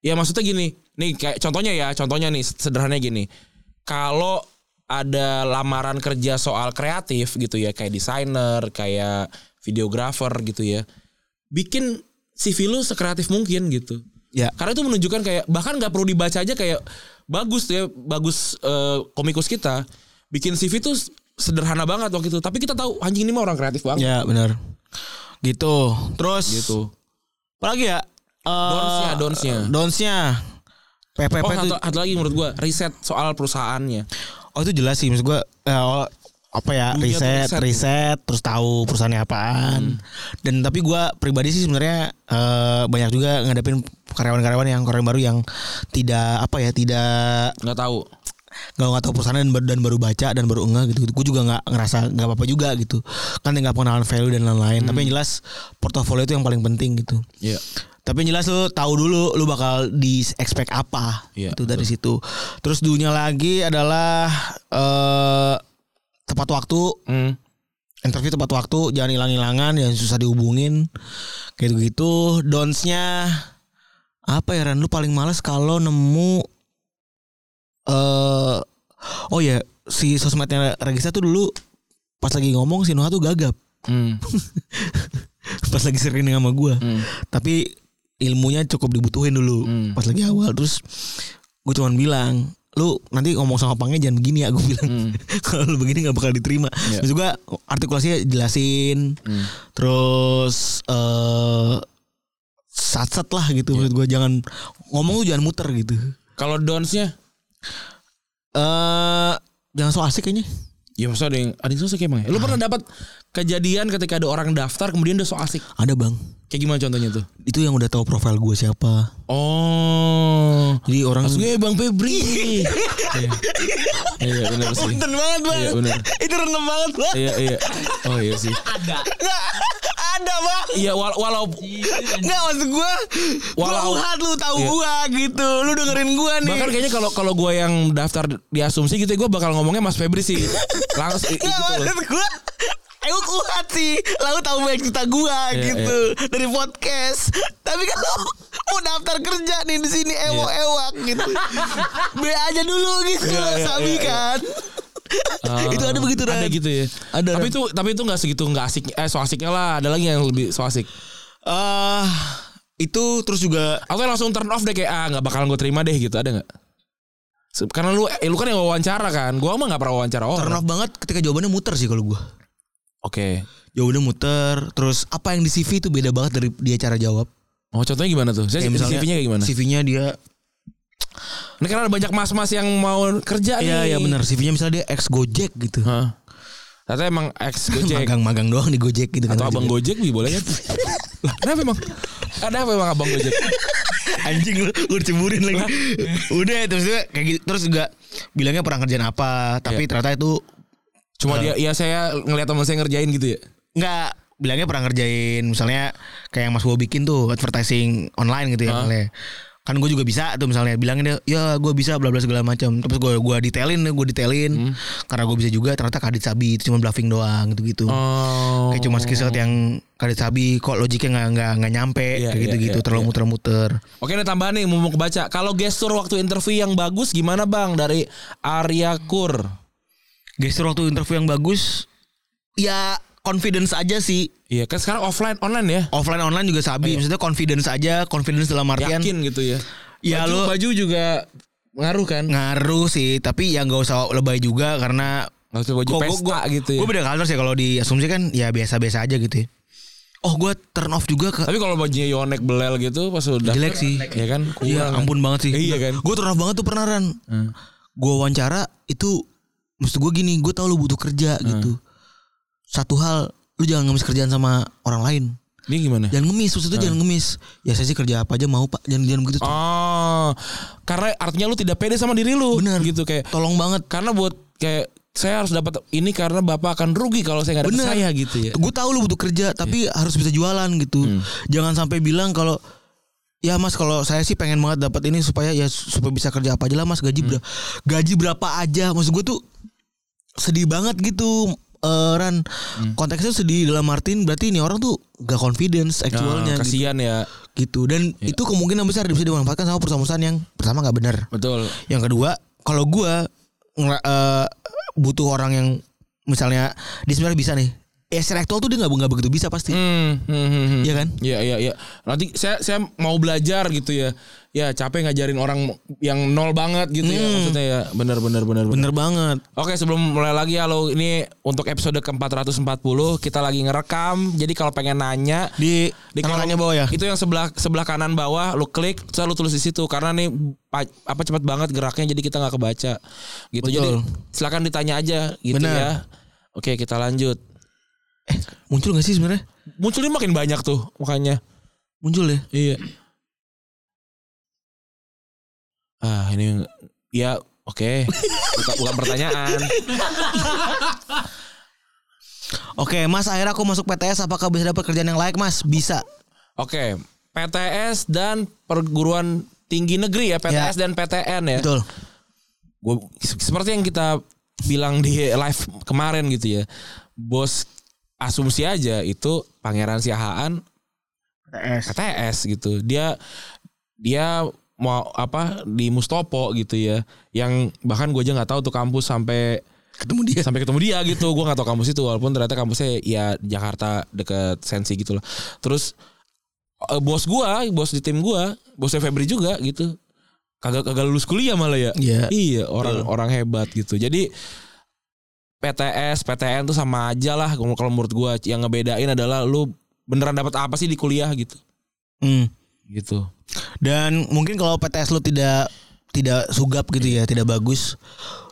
Ya maksudnya gini, nih kayak contohnya ya, contohnya nih sederhananya gini. Kalau ada lamaran kerja soal kreatif gitu ya, kayak desainer, kayak videographer gitu ya. Bikin CV lu sekreatif mungkin gitu.
Ya.
Karena itu menunjukkan kayak bahkan nggak perlu dibaca aja kayak bagus tuh ya, bagus eh, komikus kita. Bikin CV tuh sederhana banget waktu itu, tapi kita tahu anjing ini mah orang kreatif banget
ya benar gitu terus
gitu.
apalagi ya
Don'ts-nya, don'ts-nya.
donsnya PPP
Oh,
tuh-
satu, satu lagi menurut gua, riset soal perusahaannya.
Oh itu jelas sih maksud gue apa ya
Dunia tuh
riset,
riset. Hmm.
riset terus tahu perusahaannya apaan dan tapi gue pribadi sih sebenarnya eh, banyak juga ngadepin karyawan-karyawan yang karyawan baru yang tidak apa ya tidak
nggak tahu.
nggak nggak tahu perusahaan dan baru, dan baru baca dan baru enggak gitu gue juga nggak ngerasa nggak apa-apa juga
Hmm.
gitu kan tinggal pengenalan value dan lain-lain tapi yang jelas portofolio itu yang paling penting gitu
Iya.
Tapi yang jelas lu tahu dulu lu bakal di expect apa.
Iya,
itu dari situ. Terus dunia lagi adalah eh tepat waktu,
Hmm.
interview tepat waktu, jangan hilang-hilangan, yang susah dihubungin. Kayak gitu-gitu. Dons-nya apa ya Ran? Lu paling males kalau nemu eh oh ya, si sosmednya Regista tuh dulu pas lagi ngomong si Noah tuh gagap.
Hmm.
pas lagi sering sama gua
Hmm.
tapi ilmunya cukup dibutuhin dulu
Hmm.
pas lagi awal terus gue cuman bilang lu nanti ngomong sama pangnya jangan begini ya gue bilang
Hmm.
kalau lu begini nggak bakal diterima
Iya.
Terus juga artikulasinya jelasin
Hmm.
terus eh satset lah
Iya.
gitu maksud gue jangan ngomong lu jangan muter gitu
Kalau downs-nya
eh jangan so asik kayaknya
Ya maksudnya ada yang ada yang sosok emang ya? Lu pernah dapat kejadian ketika ada orang daftar kemudian dia so asik.
ada bang
Kayak gimana contohnya tuh?
itu yang udah tahu profil gue siapa
Oh.
jadi orang
Maksud gue Bang Febri. Iya. Iya benar sih.
Punten banget bang
Iya, bener.
Itu rendah banget bang
Iya iya. Oh iya sih.
Nggak, Ada bang
Iya wala- walau
Enggak maksud gue
Walau-
Walau lu tahu
Iya.
gua gitu Lu dengerin gua nih
bahkan kayaknya kalau kalau gue yang daftar di asumsi gitu gue bakal ngomongnya Mas Febri sih. Langsung i- i-
Nggak,
gitu loh.
maksud gua Emang kuat sih Lalu tahu banyak cerita gua
Iya,
gitu Dari podcast Tapi kan lu Mau daftar kerja nih di sini Ewok-ewok gitu B aja dulu gitu
Iya, iya,
Sabi
iya, iya.
kan Itu ada begitu Ran.
Ada gitu ya.
Ada,
Tapi
Ran.
itu tapi itu nggak segitu nggak asik. Eh so asiknya lah. Ada lagi yang lebih so asik.
Ah, Itu terus juga
Atau langsung turn off deh kayak ah nggak bakalan gue terima deh gitu ada nggak? Se- Karena lu eh, lu kan yang wawancara kan, gue mah nggak pernah wawancara orang.
Turn off banget ketika jawabannya muter sih kalau gua
Oke.
Jawabannya muter Terus apa yang di CV itu beda banget dari dia cara jawab
Oh contohnya gimana tuh? Saya
Kayak misalnya,
CV-nya kayak gimana?
CV-nya dia
Ini karena ada banyak mas-mas yang mau kerja
Iya
nih.
iya benar CV-nya misalnya dia ex Gojek gitu.
Hah. Ternyata emang ex Gojek
Magang-magang doang di Gojek gitu kan.
atau abang Gojek bi boleh kan? lah, kenapa emang? Ada apa emang abang Gojek?
Anjing lu gue diceburin lagi. Udah terus juga kayak gitu. Terus juga bilangnya pernah kerjaan apa,
Iya.
tapi ternyata itu
Cuma dia ya saya ngeliat teman saya ngerjain gitu ya.
enggak bilangnya pernah ngerjain misalnya kayak yang Mas Wo bikin tuh advertising online gitu ya misalnya. Kan gue juga bisa tuh misalnya bilangin dia, "Ya, gue bisa bla bla segala macam." Terus gue gua detailin, gue detailin
Hmm.
karena gue bisa juga ternyata Kadit Sabi itu cuma bluffing doang gitu-gitu.
Oh.
kayak cuma skill set yang kadet sabi kok logiknya nggak nggak nggak nyampe
Iya,
kayak
iya,
gitu gitu
iya,
terlalu
iya.
muter-muter
Oke ada tambahan nih mau mau kebaca. Kalau gestur waktu interview yang bagus gimana bang dari Arya Kur?
gestur waktu interview yang bagus ya confidence aja sih
Iya kan sekarang offline online ya.
offline online juga sabi maksudnya confidence aja confidence dalam artian
Iya. Yakin gitu ya.
Ya,
baju,
lu-
baju juga ngaruh kan?
ngaruh sih tapi ya nggak usah lebay juga karena
Nggak usah baju
Gua-
pesta
gua-
gitu ya.
gue beda culture sih kalau di asumsi kan ya biasa-biasa aja gitu ya. oh gue turn off juga ke
Tapi kalau bajunya yonek belel gitu pas udah
Jelek sih.
Ya kan? Kurang
Iya
kan?
ampun banget sih.
Iya kan? Hmm.
Gue turn off banget tuh pernah Ran. Gue wawancara itu maksud gue gini, gue tau lu butuh kerja
Hmm.
gitu. Satu hal lu jangan ngemis kerjaan sama orang lain.
Ini gimana?
Jangan ngemis, maksudnya
Hmm.
jangan ngemis. Ya saya sih kerja apa aja mau Pak, jangan jangan begitu. tuh.
Oh. Karena artinya lu tidak pede sama diri lu.
Bener.
Gitu kayak
Tolong banget.
karena buat kayak saya harus dapat ini karena bapak akan rugi kalau saya nggak dapat
Bener.
saya gitu ya.
Gue tahu lu butuh kerja tapi harus bisa jualan gitu. Jangan sampai bilang kalau Ya mas kalau saya sih pengen banget dapat ini supaya ya supaya bisa kerja apa aja lah mas gaji berapa gaji berapa aja maksud gue tuh sedih banget gitu eh, Ran konteksnya sedih dalam Martin berarti ini orang tuh gak confidence
Nah,
actualnya gitu.
kasihan ya.
gitu dan itu kemungkinan besar bisa dimanfaatkan sama perusahaan-perusahaan yang pertama nggak benar
Betul.
yang kedua, kalau gua ngera- eh, butuh orang yang misalnya dia sebenarnya bisa nih. Ya intelektual tuh dia nggak nggak begitu bisa pasti.
Hmm, hmm, hmm, hmm.
Iya kan?
Iya iya iya. Nanti saya saya mau belajar gitu ya. Ya capek ngajarin orang yang nol banget gitu ya
Hmm.
maksudnya ya. Benar benar benar benar.
Bener banget.
Oke sebelum mulai lagi halo ini untuk episode ke-440 kita lagi ngerekam. Jadi kalau pengen nanya
Di,
di kolom-
kalangannya bawah ya.
Itu yang sebelah sebelah kanan bawah lu klik terus lu tulis di situ karena nih pa- apa cepat banget geraknya jadi kita nggak kebaca. Gitu.
Betul.
Jadi silakan ditanya aja gitu
Benar.
ya. Oke, kita lanjut.
Muncul gak sih sebenarnya?
Munculnya makin banyak tuh makanya.
Muncul ya.
Iya. Ah, ini ya oke. Bukan, bukan pertanyaan.
Oke, Mas, akhirnya aku masuk PTS apakah bisa dapat kerjaan yang layak, Mas? Bisa.
Oke, PTS dan perguruan tinggi negeri ya PTS dan PTN ya.
Betul.
Gua, se- seperti yang kita bilang di live kemarin gitu ya. Bos asumsi aja itu Pangeran Siahaan
PTS.
KTS gitu. Dia dia mau apa di Mustopo gitu ya. Yang bahkan gue aja nggak tahu tuh kampus sampai
Ketemu dia.
sampai ketemu dia gitu. Gue nggak tahu kampus itu walaupun ternyata kampusnya ya Jakarta deket Sensi gitu loh. Terus eh, bos gua, bos di tim gua, bosnya Febri juga gitu. Kagak kagak lulus kuliah malah ya.
Iya.
Iya, orang orang hebat gitu. Jadi PTS, PTN tuh sama aja lah kalau kalau menurut gua yang ngebedain adalah lu beneran dapat apa sih di kuliah gitu.
Hmm.
Gitu.
Dan mungkin kalau PTS lu tidak tidak sugap gitu ya, tidak bagus,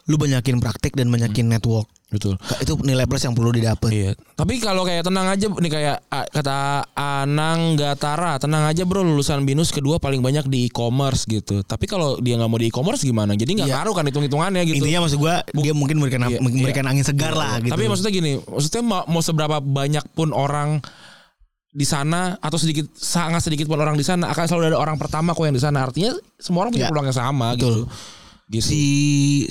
lu banyakin praktik dan banyakin network.
Betul.
Itu nilai plus yang perlu didapat.
Hmm. Iya. Tapi kalau kayak tenang aja nih kayak ah, kata Anang Gatara, tenang aja bro lulusan binus kedua paling banyak di e-commerce gitu. Tapi kalau dia nggak mau di e-commerce gimana? Jadi nggak
Iya.
ngaruh kan hitung-hitungannya gitu.
Intinya maksud gua dia mungkin memberikan
Iya,
memberikan angin segar lah gitu.
Tapi maksudnya gini, maksudnya mau, mau seberapa banyak pun orang di sana atau sedikit sangat sedikit pun orang di sana akan selalu ada orang pertama kok yang di sana. Artinya semua orang
Ya.
punya peluang yang sama
Betul.
gitu. Gitu.
si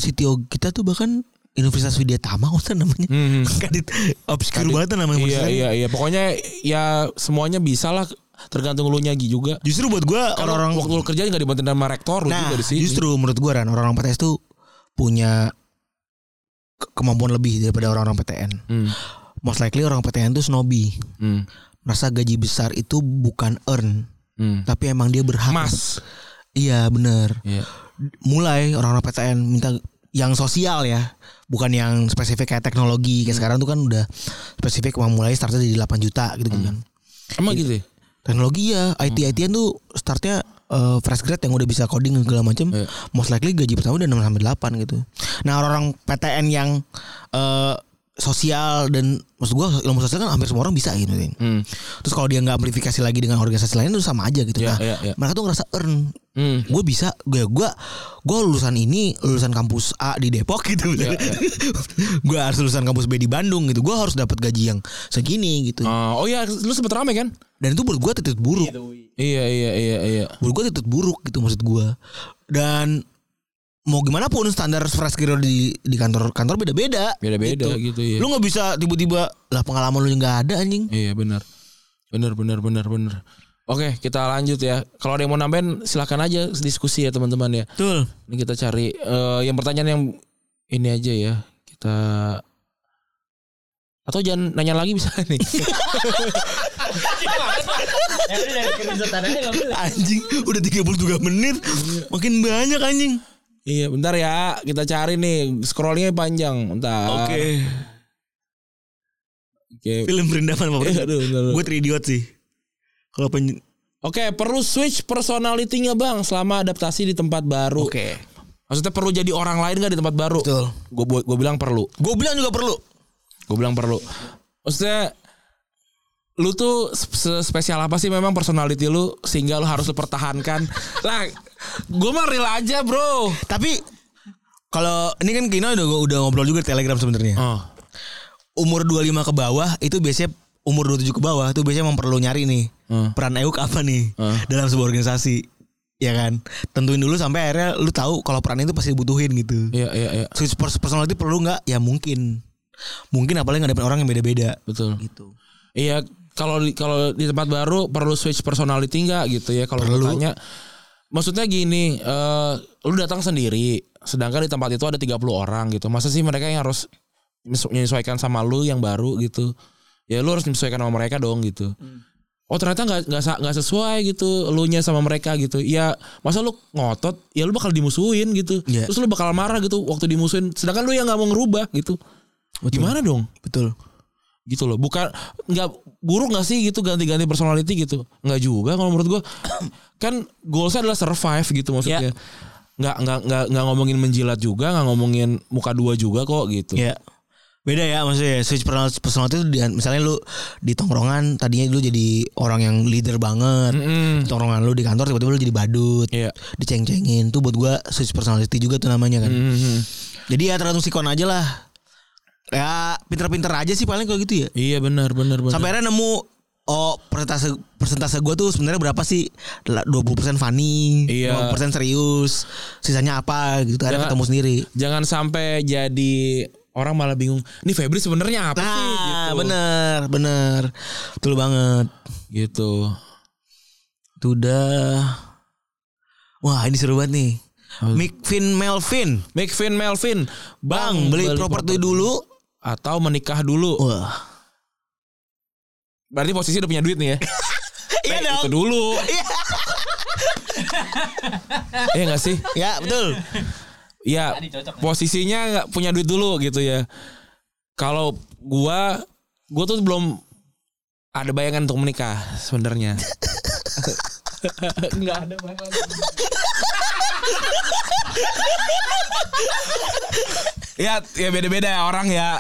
si Tio kita tuh bahkan Universitas Widyatama apa namanya?
Hmm.
Kadit obscure banget tuh nama
Iya
universitasnya.
iya iya. Pokoknya ya semuanya bisa lah tergantung lu nyagi juga.
Justru buat gua orang-orang
Kan waktu lu kerja nggak dibantuin sama rektor lu
nah
juga di sini.
justru menurut gua Ran orang-orang PTS tuh punya ke- kemampuan lebih daripada orang-orang PTN.
Hmm.
Most likely orang PTN tuh snobby.
Hmm.
Merasa gaji besar itu bukan earn,
Hmm.
tapi emang dia berhak.
Mas.
Iya, bener
Iya.
Mulai orang-orang PTN minta yang sosial ya, bukan yang spesifik kayak teknologi.
Hmm.
Kayak sekarang tuh kan udah spesifik mau mulai startnya jadi 8 juta gitu
Hmm.
kan.
Emang
Iya.
gitu. ya?
Teknologi ya, IT
Hmm.
ITN tuh startnya eh, fresh grad yang udah bisa coding dan segala macam,
Iya.
most likely gaji pertama udah 6 sampai 8 gitu. Nah, orang-orang PTN yang eh, sosial dan maksud gua ilmu sosial kan hampir semua orang bisa gitu. Tin.
Hmm.
Terus kalau dia nggak amplifikasi lagi dengan organisasi lain itu sama aja gitu.
Iya,
nah,
iya, iya.
mereka tuh ngerasa earn.
Hmm.
Gue Mm-hmm. bisa, gue gue gue lulusan ini lulusan kampus A di Depok gitu.
Iya,
gue harus lulusan kampus B di Bandung gitu. Gue harus dapat gaji yang segini gitu.
Ah, oh iya, lu sempet rame kan?
Dan itu menurut gue titik buruk.
Iya iya iya iya.
Menurut gue titik buruk gitu maksud gue. Dan mau gimana pun standar fresh graduate di di kantor kantor beda-beda.
Beda-beda gitu, iya.
Lu nggak bisa tiba-tiba lah pengalaman lu yang nggak ada anjing.
Iya benar. Benar benar benar benar. Oke, kita lanjut ya. Kalau ada yang mau nambahin silakan aja diskusi ya teman-teman ya.
Betul.
Ini kita cari eh, yang pertanyaan yang ini aja ya. Kita atau jangan nanya lagi bisa nih.
Anjing udah 33 menit makin banyak anjing.
iya, bentar ya. Kita cari nih. Scrollingnya panjang. Bentar. Oke.
Film Perindaman apa?
Eh, aduh, bentar, bentar.
Gue teridiot sih. Kalau pen...
Oke, perlu switch personality-nya Bang selama adaptasi di tempat baru. Maksudnya perlu jadi orang lain gak di tempat baru?
Betul.
Gue gue bilang perlu.
Gue bilang juga perlu.
Gue bilang perlu. Maksudnya lu tuh se- spesial apa sih memang personality lu sehingga lu harus lu pertahankan? lah, gue mah real aja, Bro.
Tapi kalau ini kan Kino udah udah ngobrol juga di Telegram sebenarnya.
Oh.
Umur 25 ke bawah itu biasanya umur 27 ke bawah itu biasanya memang perlu nyari nih.
Hmm.
Peran EUK apa nih
Hmm.
dalam sebuah organisasi. Ya kan? Tentuin dulu sampai akhirnya lu tahu kalau peran itu pasti dibutuhin gitu.
Iya, iya, iya.
Switch pers- personality perlu nggak? Ya mungkin. Mungkin apalagi ngadepin orang yang beda-beda
Betul.
gitu.
Iya, kalau di- kalau di tempat baru perlu switch personality nggak gitu ya kalau
Perlu.
tanya. Maksudnya gini, eh lu datang sendiri, sedangkan di tempat itu ada 30 orang gitu. Masa sih mereka yang harus menyesu- menyesuaikan sama lu yang baru gitu. Ya lu harus menyesuaikan sama mereka dong gitu. Oh ternyata nggak nggak sa- nggak sesuai gitu lu nya sama mereka gitu. Ya masa lu ngotot, ya lu bakal dimusuhin gitu.
Iya.
Terus lu bakal marah gitu waktu dimusuhin. Sedangkan lu yang nggak mau ngerubah gitu. Gimana dong?
Betul.
gitu loh bukan nggak buruk nggak sih gitu ganti-ganti personality gitu nggak juga kalau menurut gua kan goalsnya adalah survive
Ya.
gitu maksudnya nggak nggak nggak nggak ngomongin menjilat juga nggak ngomongin muka dua juga kok gitu
Ya. Beda ya maksudnya switch personal personality itu di- misalnya lu di tongkrongan tadinya lu jadi orang yang leader banget.
Mm-mm.
Di Tongkrongan lu di kantor tiba-tiba lu jadi badut.
Iya.
Diceng-cengin tuh buat gua switch personality juga tuh namanya kan.
Mm-mm.
Jadi ya tergantung sikon aja lah. Ya pinter-pinter aja sih paling kalau gitu ya.
iya benar benar benar
Sampai akhirnya nemu oh persentase persentase gue tuh sebenarnya berapa sih 20% funny
Iya. Ya.
20% serius sisanya apa gitu ada
Jangan-
ketemu sendiri
Jangan sampai jadi orang malah bingung. Ini Febri sebenarnya apa sih?
nah bener bener betul banget
Gitu.
itu udah wah ini seru banget nih Mikvin Melvin
McFin Melvin,
Bang,
Bang,
beli, properti Oh, dulu
atau menikah dulu.
Wah
Berarti posisi udah punya duit nih ya.
Iya
Itu
dong
dulu. Iya enggak sih?
Ya betul
Ya, posisinya nggak punya duit dulu gitu ya. Kalau gua gua tuh belum ada bayangan untuk menikah sebenarnya. Enggak ada bayangan. ya, ya beda-beda orang ya.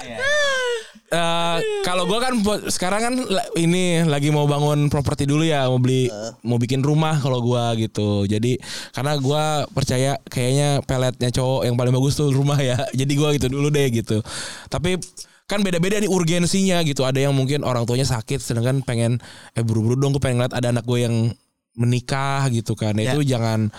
Eh, kalau gua kan po- sekarang kan la- ini lagi mau bangun properti dulu ya mau beli mau bikin rumah kalau gua gitu jadi karena gua percaya kayaknya peletnya cowok yang paling bagus tuh rumah ya jadi gua gitu dulu deh gitu tapi kan beda-beda nih urgensinya gitu ada yang mungkin orang tuanya sakit sedangkan pengen eh buru-buru dong gue pengen ngeliat ada anak gue yang menikah gitu kan itu jangan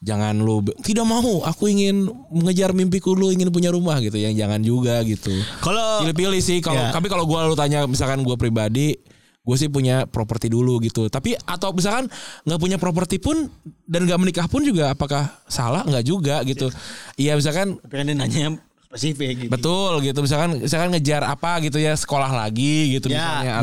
jangan lu be- tidak mau aku ingin mengejar mimpiku lu ingin punya rumah gitu yang jangan juga gitu
Kalau
pilih-pilih sih
Ya.
kalau tapi kalau gua lu tanya misalkan gua pribadi gue sih punya properti dulu gitu tapi atau misalkan nggak punya properti pun dan nggak menikah pun juga apakah salah nggak juga gitu iya misalkan
pengen kan nanya spesifik
betul gitu misalkan misalkan ngejar apa gitu ya sekolah lagi gitu misalnya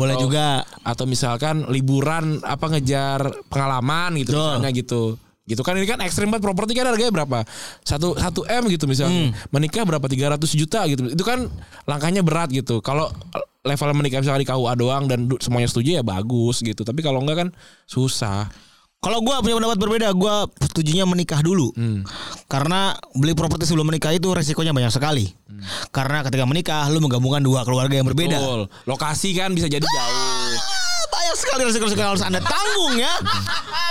Ya boleh
atau-
juga
atau misalkan liburan apa ngejar pengalaman gitu
Betul.
misalnya gitu gitu kan ini kan ekstrim banget properti kan harganya berapa satu satu m gitu misalnya menikah berapa 300 juta gitu itu kan langkahnya berat gitu kalau level menikah misalnya di KUA doang dan du- semuanya setuju ya bagus gitu tapi kalau enggak kan susah
Kalau gua punya pendapat berbeda, gua setujunya menikah dulu. Karena beli properti sebelum menikah itu resikonya banyak sekali. Karena ketika menikah lu menggabungkan dua keluarga yang berbeda.
Betul. lokasi kan bisa jadi jauh
Ah, Banyak sekali resiko-resiko yang harus Anda tanggung ya.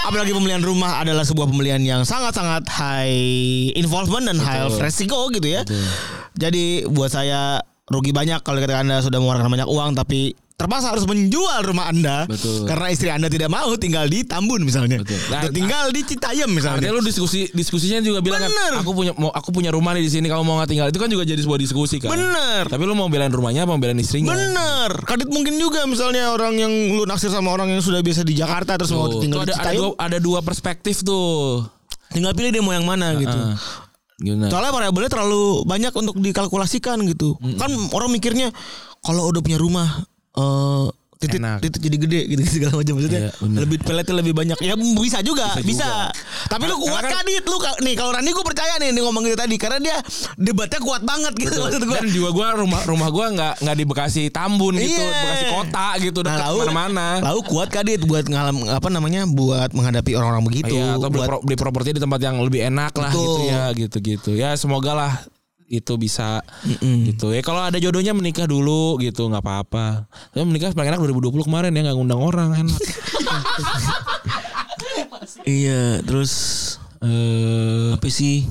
Apalagi pembelian rumah adalah sebuah pembelian yang sangat-sangat high involvement dan high resiko gitu ya. Jadi buat saya rugi banyak kalau ketika Anda sudah mengeluarkan banyak uang tapi terpaksa harus menjual rumah Anda
Betul.
karena istri Anda tidak mau tinggal di Tambun misalnya.
Betul.
Atau tinggal di Citayam misalnya.
Artinya lu diskusi diskusinya juga bilang kan
Bener.
aku punya mau aku punya rumah nih di sini kamu mau nggak tinggal itu kan juga jadi sebuah diskusi kan.
Bener.
Tapi lu mau belain rumahnya apa mau belain istrinya?
Bener. Kadit mungkin juga misalnya orang yang lu naksir sama orang yang sudah biasa di Jakarta terus mau
Tuh,
tinggal
tuh
di
ada, ada
Citayam.
dua, ada dua perspektif tuh.
Tinggal pilih dia mau yang mana gitu.
Ah, gimana?
Soalnya variabelnya terlalu banyak untuk dikalkulasikan gitu. Kan orang mikirnya kalau udah punya rumah eh titik
Enak.
titik jadi gede gitu segala macam maksudnya
Iya, bener.
lebih peletnya lebih banyak ya bisa juga bisa,
Bisa
tapi lu kuat
Karena kan-
kadit lu ka- nih kalau Rani gue percaya nih, nih ngomong gitu tadi karena dia debatnya kuat banget gitu maksud gue
Dan juga gua rumah rumah gua nggak nggak di Bekasi Tambun gitu,
Iya.
Bekasi kota gitu dekat
Nah, lau-
mana-mana.
Lau kuat kadit buat ngalam apa namanya buat menghadapi orang-orang begitu.
Iya, atau beli,
buat
pro- beli properti di tempat yang lebih enak lah
Betul.
gitu ya, gitu-gitu. Ya semoga lah itu bisa gitu ya kalau ada jodohnya menikah dulu gitu nggak apa-apa tapi menikah paling enak 2020 kemarin ya nggak ngundang orang enak
iya terus
eh
apa sih?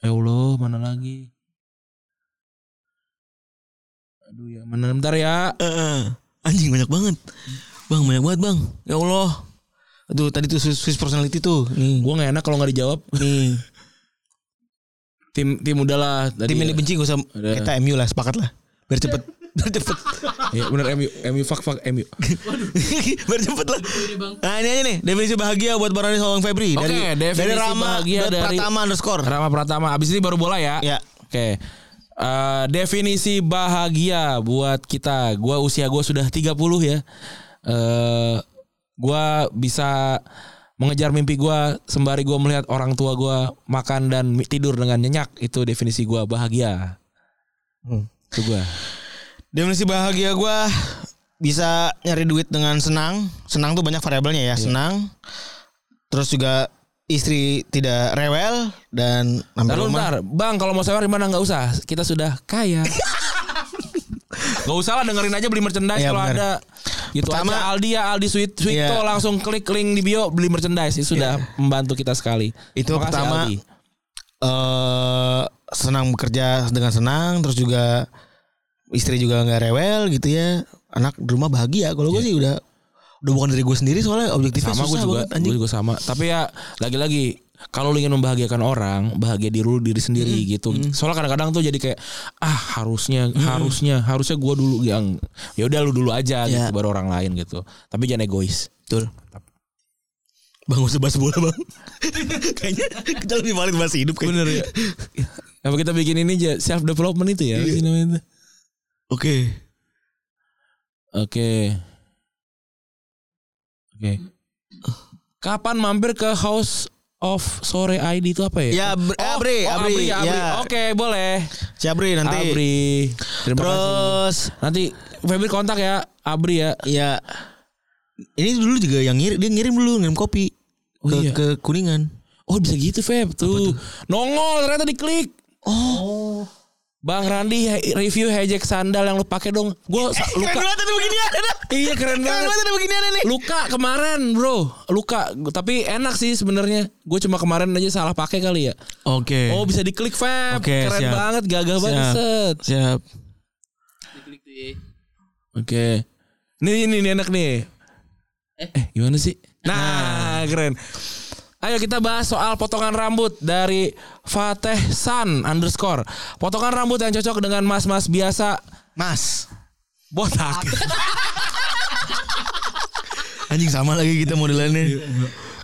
ya Allah mana lagi aduh ya mana bentar ya
Eh, anjing banyak banget. Bang banyak banget bang. Ya Allah. Aduh tadi tuh Swiss, Swiss personality tuh. Nih.
gue nggak enak kalau nggak dijawab
Nih.
tim tim udahlah tadi
Tim
ya.
ini benci gak usah
Udah.
kita MU lah sepakat lah. Biar cepet. Biar cepet.
ya bener MU MU fuck fuck MU
Biar cepet lah. Nah ini aja nih definisi bahagia buat Barani Sawang Febri
Oke,
dari
definisi
dari Rama
bahagia
dot
dari-
Pratama underscore.
Rama Pratama abis ini baru bola ya
Ya.
oke Eh, definisi bahagia buat kita gua usia gua sudah 30 ya eh gua bisa mengejar mimpi gua sembari gua melihat orang tua gua makan dan mi- tidur dengan nyenyak itu definisi gua bahagia
Hmm.
itu gua
Definisi bahagia gua bisa nyari duit dengan senang. Senang tuh banyak variabelnya ya.
Iya.
Senang. Terus juga istri tidak rewel dan sampai
Lalu
rumah.
ntar, bang kalau mau sewa di mana nggak usah, kita sudah kaya. Gak usah lah dengerin aja beli merchandise
Iya,
kalau
bener.
ada. Gitu
Pertama-
aja Aldi ya Aldi Sweet Sweet
Iya.
langsung klik link di bio beli merchandise itu sudah membantu kita sekali.
Itu
Terima kasih,
pertama.
Aldi.
eh senang bekerja dengan senang. Terus juga istri juga nggak rewel gitu ya. Anak di rumah bahagia. Kalau gue sih udah udah bukan dari gue sendiri soalnya objektifnya
Iya. sama gue
susah
juga
banget anjing.
gue juga sama tapi ya lagi-lagi kalau lu ingin membahagiakan orang bahagia diri lu diri sendiri gitu soalnya kadang-kadang tuh jadi kayak ah harusnya harusnya harusnya gue dulu yang ya udah lu dulu aja
Ya.
gitu baru orang lain gitu tapi jangan egois
Betul. Bang usah bahas bola bang Kayaknya kita lebih valid bahas hidup kayaknya
bener ya apa kita bikin ini aja self development itu ya apa
Iya.
sih namanya itu?
Oke
oke oke kapan mampir ke house of sore ID itu apa ya
Ya Bre- eh,
Oh,
Abri
oh,
Abri,
Abri, Abri.
ya.
Oke, boleh.
Si Abri nanti
Abri. Terima kasih.
Terus
Nanti Febri kontak ya Abri ya.
Ya Ini dulu juga yang ngirim Dia ngirim dulu Ngirim kopi
Oh,
ke,
iya.
ke Kuningan
Oh bisa gitu Feb tuh. Nongol ternyata diklik. Oh. Bang Randi he- review hejek sandal yang lu pakai dong. Gue luka.
ada beginian ada.
iya keren banget.
ada beginian ini
Luka kemarin bro, luka. Gu- Tapi enak sih sebenarnya. Gue cuma kemarin aja salah pakai kali ya.
Oke
Oh bisa diklik Feb.
Oke,
keren
siap.
banget, gagah
Siap.
banget. set.
Siap
Diklik di
Oke. Nih ini nih enak nih. Eh. gimana sih? Nah, keren. Ayo kita bahas soal potongan rambut dari Fateh San underscore. Potongan rambut yang cocok dengan mas-mas biasa
Mas
botak.
Anjing sama lagi kita
Iya,
modelannya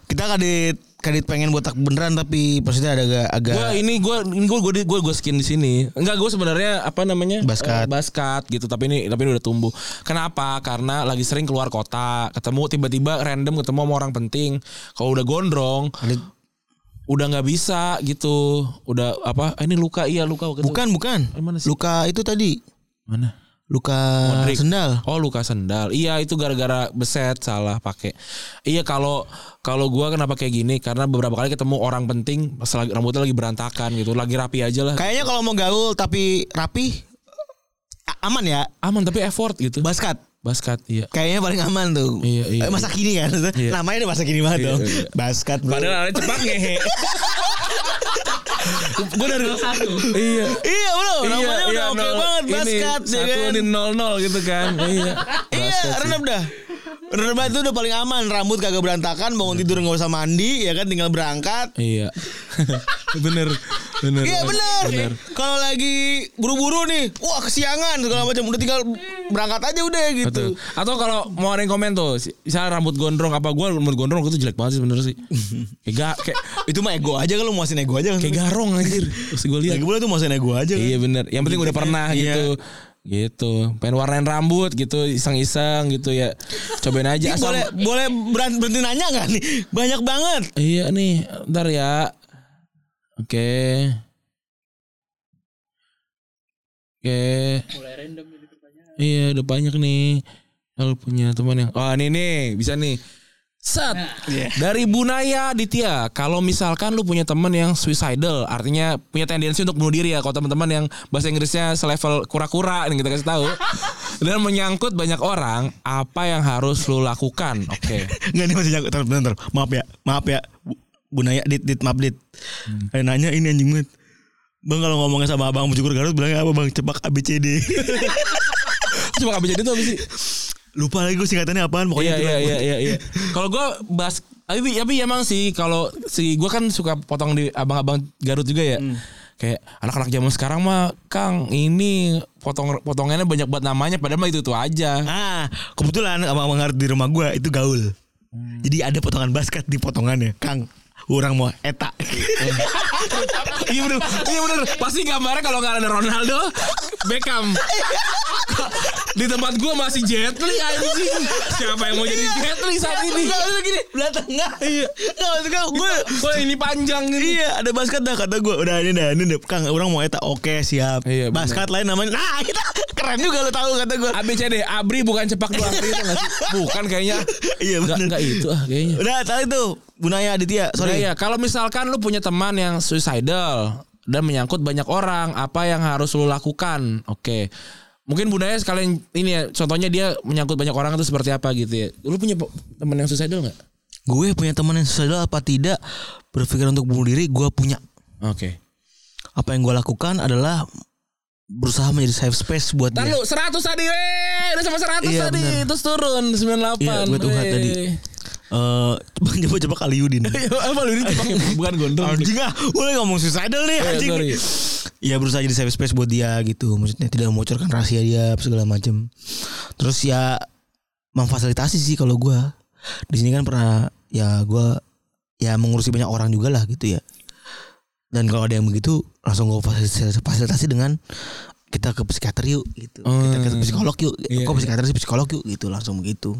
Kita kadit Kadit pengen botak beneran Tapi maksudnya ada agak, agak
Gua ini gua ini gua gua, gua, gua skin di sini. Enggak, gua sebenarnya apa namanya?
Baskat.
Eh, baskat gitu, tapi ini tapi ini udah tumbuh. Kenapa? Karena lagi sering keluar kota, ketemu tiba-tiba random ketemu sama orang penting. Kalau udah gondrong,
kadit-
udah nggak bisa gitu udah apa ah, ini luka iya luka waktu itu.
Bukan bukan
Mana sih?
Luka itu tadi
mana
Luka
Modric.
sendal
oh luka sendal iya itu gara-gara beset salah pakai iya kalau kalau gua kenapa kayak gini karena beberapa kali ketemu orang penting pas lagi rambutnya lagi berantakan gitu lagi rapi aja lah
Kayaknya kalau mau gaul tapi rapi a- aman ya.
aman tapi effort gitu
Baskat
basket iya
kayaknya paling aman tuh.
Iya, iya,
Eh, masa kini kan? Namanya udah masa kini banget
Iya,
dong.
iya.
Baskat. bro.
ada cepat ngehe gue dari
satu.
iya
Iya bro, namanya udah oke
nol.
banget
Ini
basket ya
satu
kan.
ini nol nol gitu kan iya
Iya,
Basket sih.
renep dah. Renep banget itu udah paling aman, rambut kagak berantakan, bangun tidur nggak usah mandi, ya kan tinggal berangkat.
Iya. bener, bener.
Iya bener. Kalau lagi buru-buru nih, wah kesiangan segala macam, udah tinggal berangkat aja udah gitu.
Betul. Atau kalau mau ada yang komen tuh, si- misalnya rambut gondrong apa gua rambut gondrong itu jelek banget sih sebenernya sih. kayak ga- kayak
Itu mah ego aja kalau mau ego aja.
kayak garong anjir. Terus gue lihat.
Lagi pula tuh mau ego aja. kan.
Iya bener. Yang penting udah pernah
Iya.
gitu. Gitu. Pengen warnain rambut gitu, iseng-iseng gitu ya. Cobain
Ini
aja asal.
boleh boleh beran- berhenti nanya nggak nih? Banyak banget.
Iya nih, ntar ya. Oke. Oke.
mulai random ini pertanyaan.
Iya udah banyak nih Kalau punya teman yang Oh ini nih bisa nih
Nah.
Set Dari Bunaya Ditya Kalau misalkan lu punya teman yang suicidal Artinya punya tendensi untuk bunuh diri ya Kalau teman-teman yang bahasa Inggrisnya selevel kura-kura Yang kita kasih tahu Dan menyangkut banyak orang Apa yang harus lu lakukan Oke
Nggak nih masih jago. Bentar, bentar, bentar. Maaf ya, maaf ya. Bu, Bu Naya, dit, dit, maaf dit.
Hmm.
Ada nanya ini anjing banget. Bang kalau ngomongnya sama abang Bujukur Garut bilangnya apa bang cepak ABCD.
Cuma gak bisa itu apa sih
Lupa lagi gue singkatannya apaan
Iya
pokoknya.
iya iya iya iya. Kalau gua bas tapi tapi emang sih kalau si gua kan suka potong di abang-abang Garut juga ya. Kayak anak-anak zaman sekarang mah Kang ini potong potongannya banyak buat namanya padahal mah itu itu aja.
Ah, kebetulan abang abang Garut di rumah gue itu gaul.
Hmm.
Jadi ada potongan basket di potongannya. Kang, orang mau eta.
iya bener iya bener. Pasti gambarnya kalau nggak ada Ronaldo, Beckham. di tempat gua masih Jet Li anjing. Siapa yang mau jadi Jet Li saat ini?
gini, belah tengah. Iya. Nggak maksud gue, gue
Wah ini panjang ini.
Iya ada basket dah kata gue Udah ini dah ini dah Kang orang mau eta Oke siap
Iya, bener.
Basket lain namanya Nah kita keren juga lo tahu kata gue
ABCD, Abri bukan cepak dua Abri Iya, itu nggak sih? Bukan kayaknya.
Iya
Nggak-
bener
nggak itu ah kayaknya.
Udah tadi tuh Bunaya Aditya Sorry
Sorry. ya, kalau misalkan lu punya teman yang suicidal dan menyangkut banyak orang, apa yang harus lu lakukan? Oke. Mungkin budaya sekalian ini ya, contohnya dia menyangkut banyak orang itu seperti apa gitu ya. Lu punya po- teman yang suicidal nggak?
Gue punya teman yang suicidal apa tidak Berpikiran untuk bunuh diri Gue punya
Oke.
Apa yang gue lakukan adalah berusaha menjadi safe space buat
Ntar
dia.
lu 100 tadi weh Udah sama 100
Iya,
tadi
benar.
Terus turun 98
Iya, gue tuh
weh.
tadi. Eh, coba coba coba kali Yudin.
Apa lu ini cepet? bukan gondrong
Anjing ah, boleh ngomong suicidal nih
Eh,
anjing.
sorry.
Ya berusaha jadi safe space buat dia gitu. Maksudnya tidak membocorkan rahasia dia segala macam. Terus ya memfasilitasi sih kalau gua. Di sini kan pernah ya gua ya mengurusi banyak orang juga lah gitu ya. Dan kalau ada yang begitu langsung gua fasilitasi, fasilitasi dengan kita ke psikiater yuk gitu. Kita ke
Hmm.
psikolog yuk.
Iya,
Kok
iya.
psikiater sih psikolog yuk gitu langsung begitu.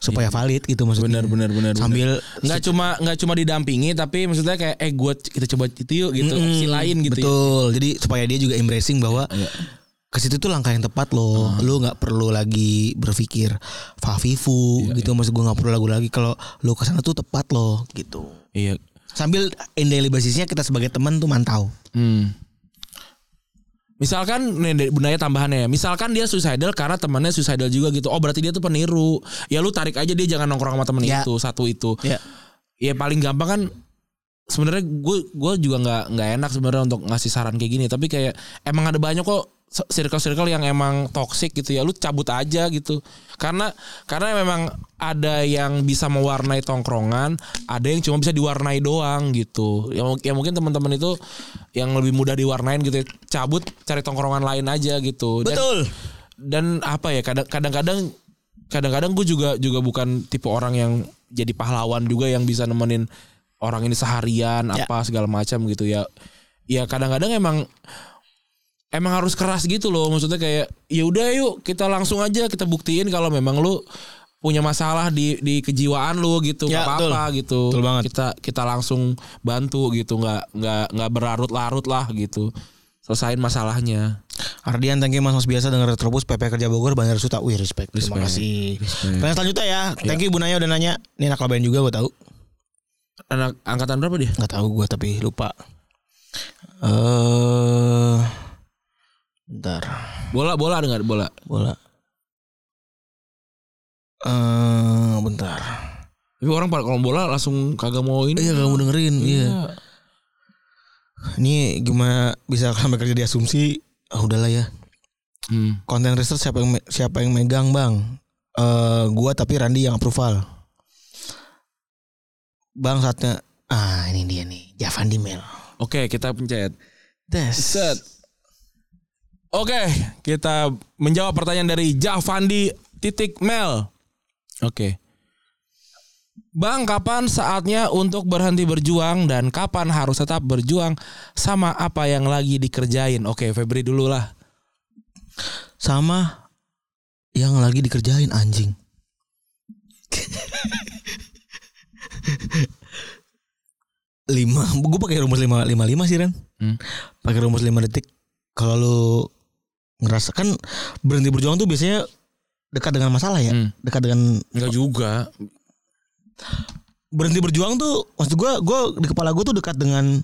Supaya valid gitu maksudnya.
Benar benar benar.
Sambil
nggak cuma nggak cuma didampingi tapi maksudnya kayak eh gua kita coba itu yuk gitu
Mm-mm.
opsi lain gitu. ya. Iya,
Betul. Iya. Jadi supaya dia juga embracing bahwa ke situ tuh langkah yang tepat loh. Lu nggak perlu lagi berpikir fafifu gitu maksud gua nggak perlu lagu lagi kalau lu ke sana tuh tepat loh gitu.
Iya.
Sambil in daily basisnya kita sebagai teman tuh mantau.
Hmm. Misalkan nih dari bundanya tambahannya, misalkan dia suicidal karena temannya suicidal juga gitu. Oh berarti dia tuh peniru. Ya lu tarik aja dia jangan nongkrong sama temen
Ya.
itu satu itu.
Ya.
ya paling gampang kan sebenarnya gue gue juga nggak nggak enak sebenarnya untuk ngasih saran kayak gini tapi kayak emang ada banyak kok circle-circle yang emang toxic gitu ya lu cabut aja gitu karena karena memang ada yang bisa mewarnai tongkrongan ada yang cuma bisa diwarnai doang gitu ya, mu- ya mungkin teman-teman itu yang lebih mudah diwarnain gitu ya, cabut cari tongkrongan lain aja gitu Dan- dan apa ya kadang- kadang-kadang kadang-kadang gue juga juga bukan tipe orang yang jadi pahlawan juga yang bisa nemenin orang ini seharian
Ya.
apa segala macam gitu ya ya kadang-kadang emang emang harus keras gitu loh maksudnya kayak ya udah yuk kita langsung aja kita buktiin kalau memang lu punya masalah di di kejiwaan lu gitu
Ya,
nggak apa-apa gitu
Betul banget.
kita kita langsung bantu gitu nggak nggak nggak berlarut-larut lah gitu selesain masalahnya
Ardian thank you Mas Mas biasa dengan Retrobus PP Kerja Bogor Bandar Suta. Wih respect. Terima
Respect. Hmm.
kasih. Tanya selanjutnya ya. Thank you Bu Naya udah nanya. Ini anak labain juga gue tahu.
anak angkatan berapa dia
nggak tahu gue tapi lupa. Eh bentar
Bola bola ada nggak bola?
bola. Eh bentar.
Tapi orang pada kalau bola langsung kagak mau ini.
Iya kamu dengerin. Iya.
Iya.
Ini gimana bisa sampai kerja di asumsi? Ah udahlah ya.
Hmm.
Konten research siapa yang me- siapa yang megang bang? Eh gua tapi Randi yang approval. Bang saatnya. Ah ini dia nih. Javandi Mel.
Oke kita pencet.
Des.
Set. Oke kita menjawab pertanyaan dari Javandi titik Mel. Oke. Bang, kapan saatnya untuk berhenti berjuang dan kapan harus tetap berjuang sama apa yang lagi dikerjain? Oke, Febri dulu lah.
sama yang lagi dikerjain anjing. lima, gue pakai rumus lima lima lima sih Ren.
Hmm.
Pakai rumus lima detik. Kalau lu ngerasa kan berhenti berjuang tuh biasanya dekat dengan masalah ya,
Hmm.
dekat dengan
Enggak juga.
berhenti berjuang tuh maksud gue gue di kepala gue tuh dekat dengan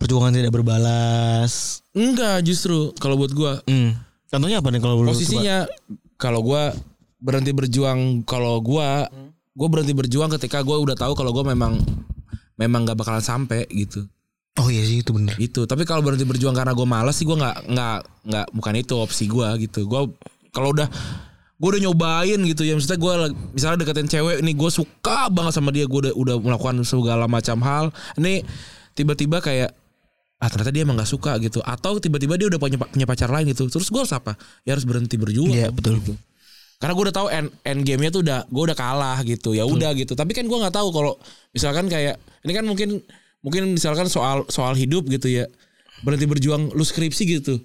perjuangan tidak berbalas.
Enggak, justru kalau buat gua
Hmm. Contohnya apa nih kalau lu coba?
posisinya kalau gua berhenti berjuang kalau gua gua berhenti berjuang ketika gua udah tahu kalau gua memang memang nggak bakalan sampai gitu
Oh iya sih itu bener.
itu Gitu. tapi kalau berhenti berjuang karena gua malas sih gua nggak nggak nggak bukan itu opsi gua gitu gua kalau udah gua udah nyobain gitu ya maksudnya gua lag- misalnya deketin cewek nih gua suka banget sama dia gua udah udah melakukan segala macam hal ini tiba-tiba kayak ah ternyata dia emang nggak suka gitu atau tiba-tiba dia udah punya, punya pacar lain gitu terus gua harus apa ya harus berhenti berjuang Gitu.
Iya betul.
karena gue udah tahu end, end game-nya tuh udah gue udah kalah gitu. Ya udah gitu. Tapi kan gue nggak tahu kalau misalkan kayak ini kan mungkin mungkin misalkan soal soal hidup gitu ya. Berhenti berjuang lu skripsi gitu.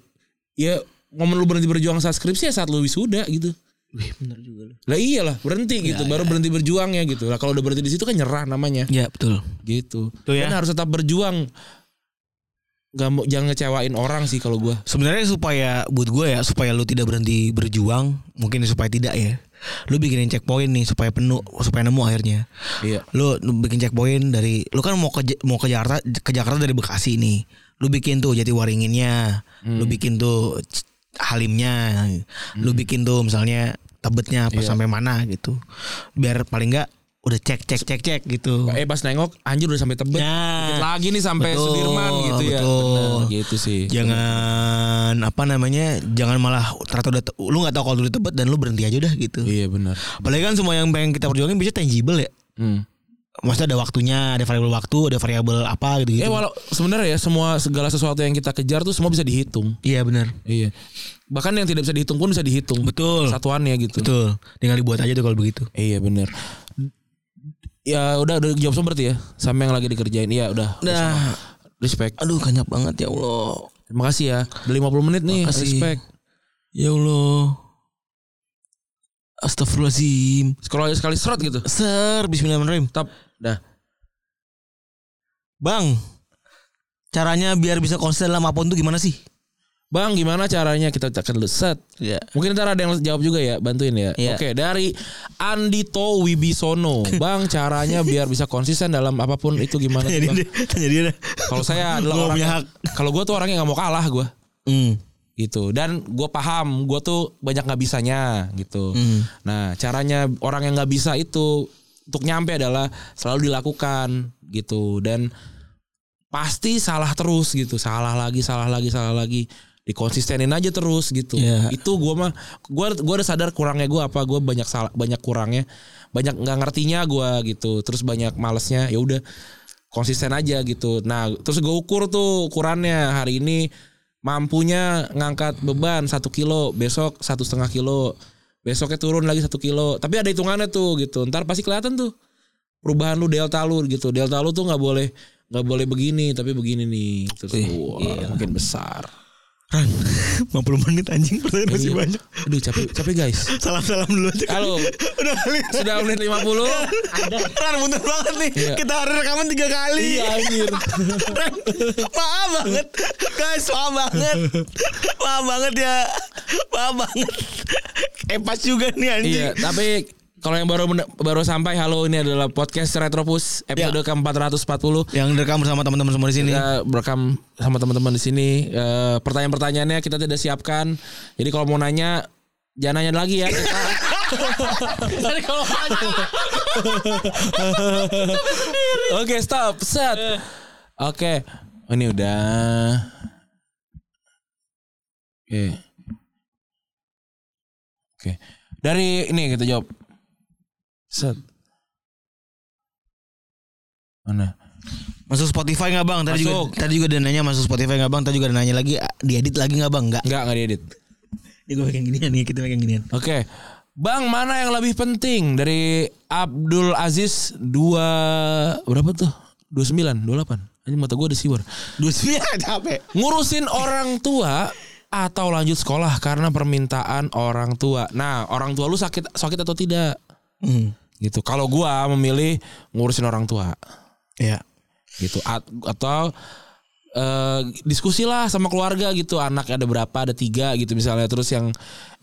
Ya momen lu berhenti berjuang saat skripsi ya saat lu wisuda gitu. Wih, bener juga Lah iyalah, berhenti gitu. Baru berhenti berjuangnya gitu. Lah kalau udah berhenti di situ kan nyerah namanya
Iya betul.
gitu.
Tuh ya.
Dan harus tetap berjuang. Gak mau jangan ngecewain orang sih kalau gua.
Sebenarnya supaya buat gue ya supaya lu tidak berhenti berjuang, mungkin supaya tidak ya. Lu bikinin checkpoint nih supaya penuh, supaya nemu akhirnya.
Iya.
Lu bikin checkpoint dari lu kan mau ke mau ke Jakarta ke Jakarta dari Bekasi nih. Lu bikin tuh Jatiwaringinnya, lu bikin tuh C- Halimnya, lu bikin tuh misalnya Tebetnya apa sampai mana gitu. Biar paling enggak udah cek cek cek cek gitu.
Eh pas nengok anjir udah sampai tebet. Dikit
Nah,
Lagi nih sampai
Betul,
Sudirman gitu ya.
betul.
Bener, gitu sih.
jangan apa namanya? Jangan malah ternyata udah te- lu nggak tahu kalau udah tebet dan lu berhenti aja udah gitu.
Iya benar.
Apalagi kan semua yang pengen kita perjuangin bisa tangible ya.
Hmm.
Maksudnya ada waktunya, ada variabel waktu, ada variabel apa gitu.
Eh walau sebenarnya ya semua segala sesuatu yang kita kejar tuh semua bisa dihitung.
Iya benar.
Iya. Bahkan yang tidak bisa dihitung pun bisa dihitung.
Betul.
Satuannya gitu.
Betul. Tinggal dibuat aja tuh kalau begitu.
Iya benar. Ya udah udah jawab sumber berarti ya. Sama yang lagi dikerjain. Iya udah.
Nah,
Respect.
aduh kenyap banget ya Allah.
Terima kasih ya. Udah 50 menit nih.
Makasih.
Respect.
Ya Allah. Astagfirullahaladzim.
Scroll aja sekali serot gitu.
Ser, bismillahirrahmanirrahim.
Tap. Dah.
Bang, caranya biar bisa konsen dalam apapun tuh gimana sih?
Bang gimana caranya kita tekan dulu set.
Iya.
Mungkin ntar ada yang jawab juga ya, bantuin ya.
Iya.
Oke, dari Andito Wibisono. Bang, caranya biar bisa konsisten dalam apapun itu gimana sih, Bang?
tanya dia.
Kalau saya
Gua
adalah orang
punya hak.
Kalau gue tuh orangnya nggak mau kalah gue
Hmm.
gitu dan gue paham gue tuh banyak nggak bisanya gitu
Hmm.
nah caranya orang yang nggak bisa itu untuk nyampe adalah selalu dilakukan gitu dan pasti salah terus gitu salah lagi salah lagi salah lagi dikonsistenin aja terus gitu
Iya.
itu gue mah gue gua udah sadar kurangnya gue apa gue banyak salah banyak kurangnya banyak nggak ngertinya gue gitu terus banyak malesnya ya udah konsisten aja gitu nah terus gue ukur tuh ukurannya hari ini mampunya ngangkat beban satu kilo besok satu setengah kilo besoknya turun lagi satu kilo tapi ada hitungannya tuh gitu ntar pasti kelihatan tuh perubahan lu delta lu gitu delta lu tuh nggak boleh nggak boleh begini tapi begini nih terus wah, makin besar
50 menit anjing pertanyaan masih
Iya.
banyak.
aduh capek capek guys
Salam-salam dulu aja.
halo
Udah kali.
sudah menit 50
Ran bener banget nih.
Iya.
Kita hari rekaman tiga kali.
iya anjir
Ran, Maaf banget. Guys, maaf banget. Maaf banget ya. Maaf banget. Epas juga nih anjing.
iya tapi kalau yang baru baru sampai halo ini adalah podcast Retropus
Ya.
episode ke-440
Yang direkam bersama teman-teman semua di sini.
kita berekam sama teman-teman di sini. Eh, Pertanyaan-pertanyaannya kita tidak siapkan. Jadi kalau mau nanya jangan nanya lagi ya. Jadi kalau nanya. Oke, stop. Set. Oke. Oh, ini udah. Oke. Oke. Dari ini kita jawab. Set. Mana?
Masuk Spotify nggak bang? Tadi
Masuk.
juga tadi juga ada nanya masuk Spotify nggak bang? Tadi juga ada nanya lagi ah, diedit lagi nggak bang? Nggak.
Enggak, enggak diedit.
Ini gue pegang ginian nih, kita pegang ginian.
Oke. Bang, mana yang lebih penting dari Abdul Aziz 2 berapa tuh? 29, 28. Ini mata gua ada siwar.
Dua sembilan capek.
Ngurusin orang tua atau lanjut sekolah karena permintaan orang tua. Nah, orang tua lu sakit sakit atau tidak?
Hmm.
Gitu. Kalau gua memilih ngurusin orang tua
Ya.
gitu A- atau eh diskusi lah sama keluarga gitu anak ada berapa ada tiga gitu misalnya terus yang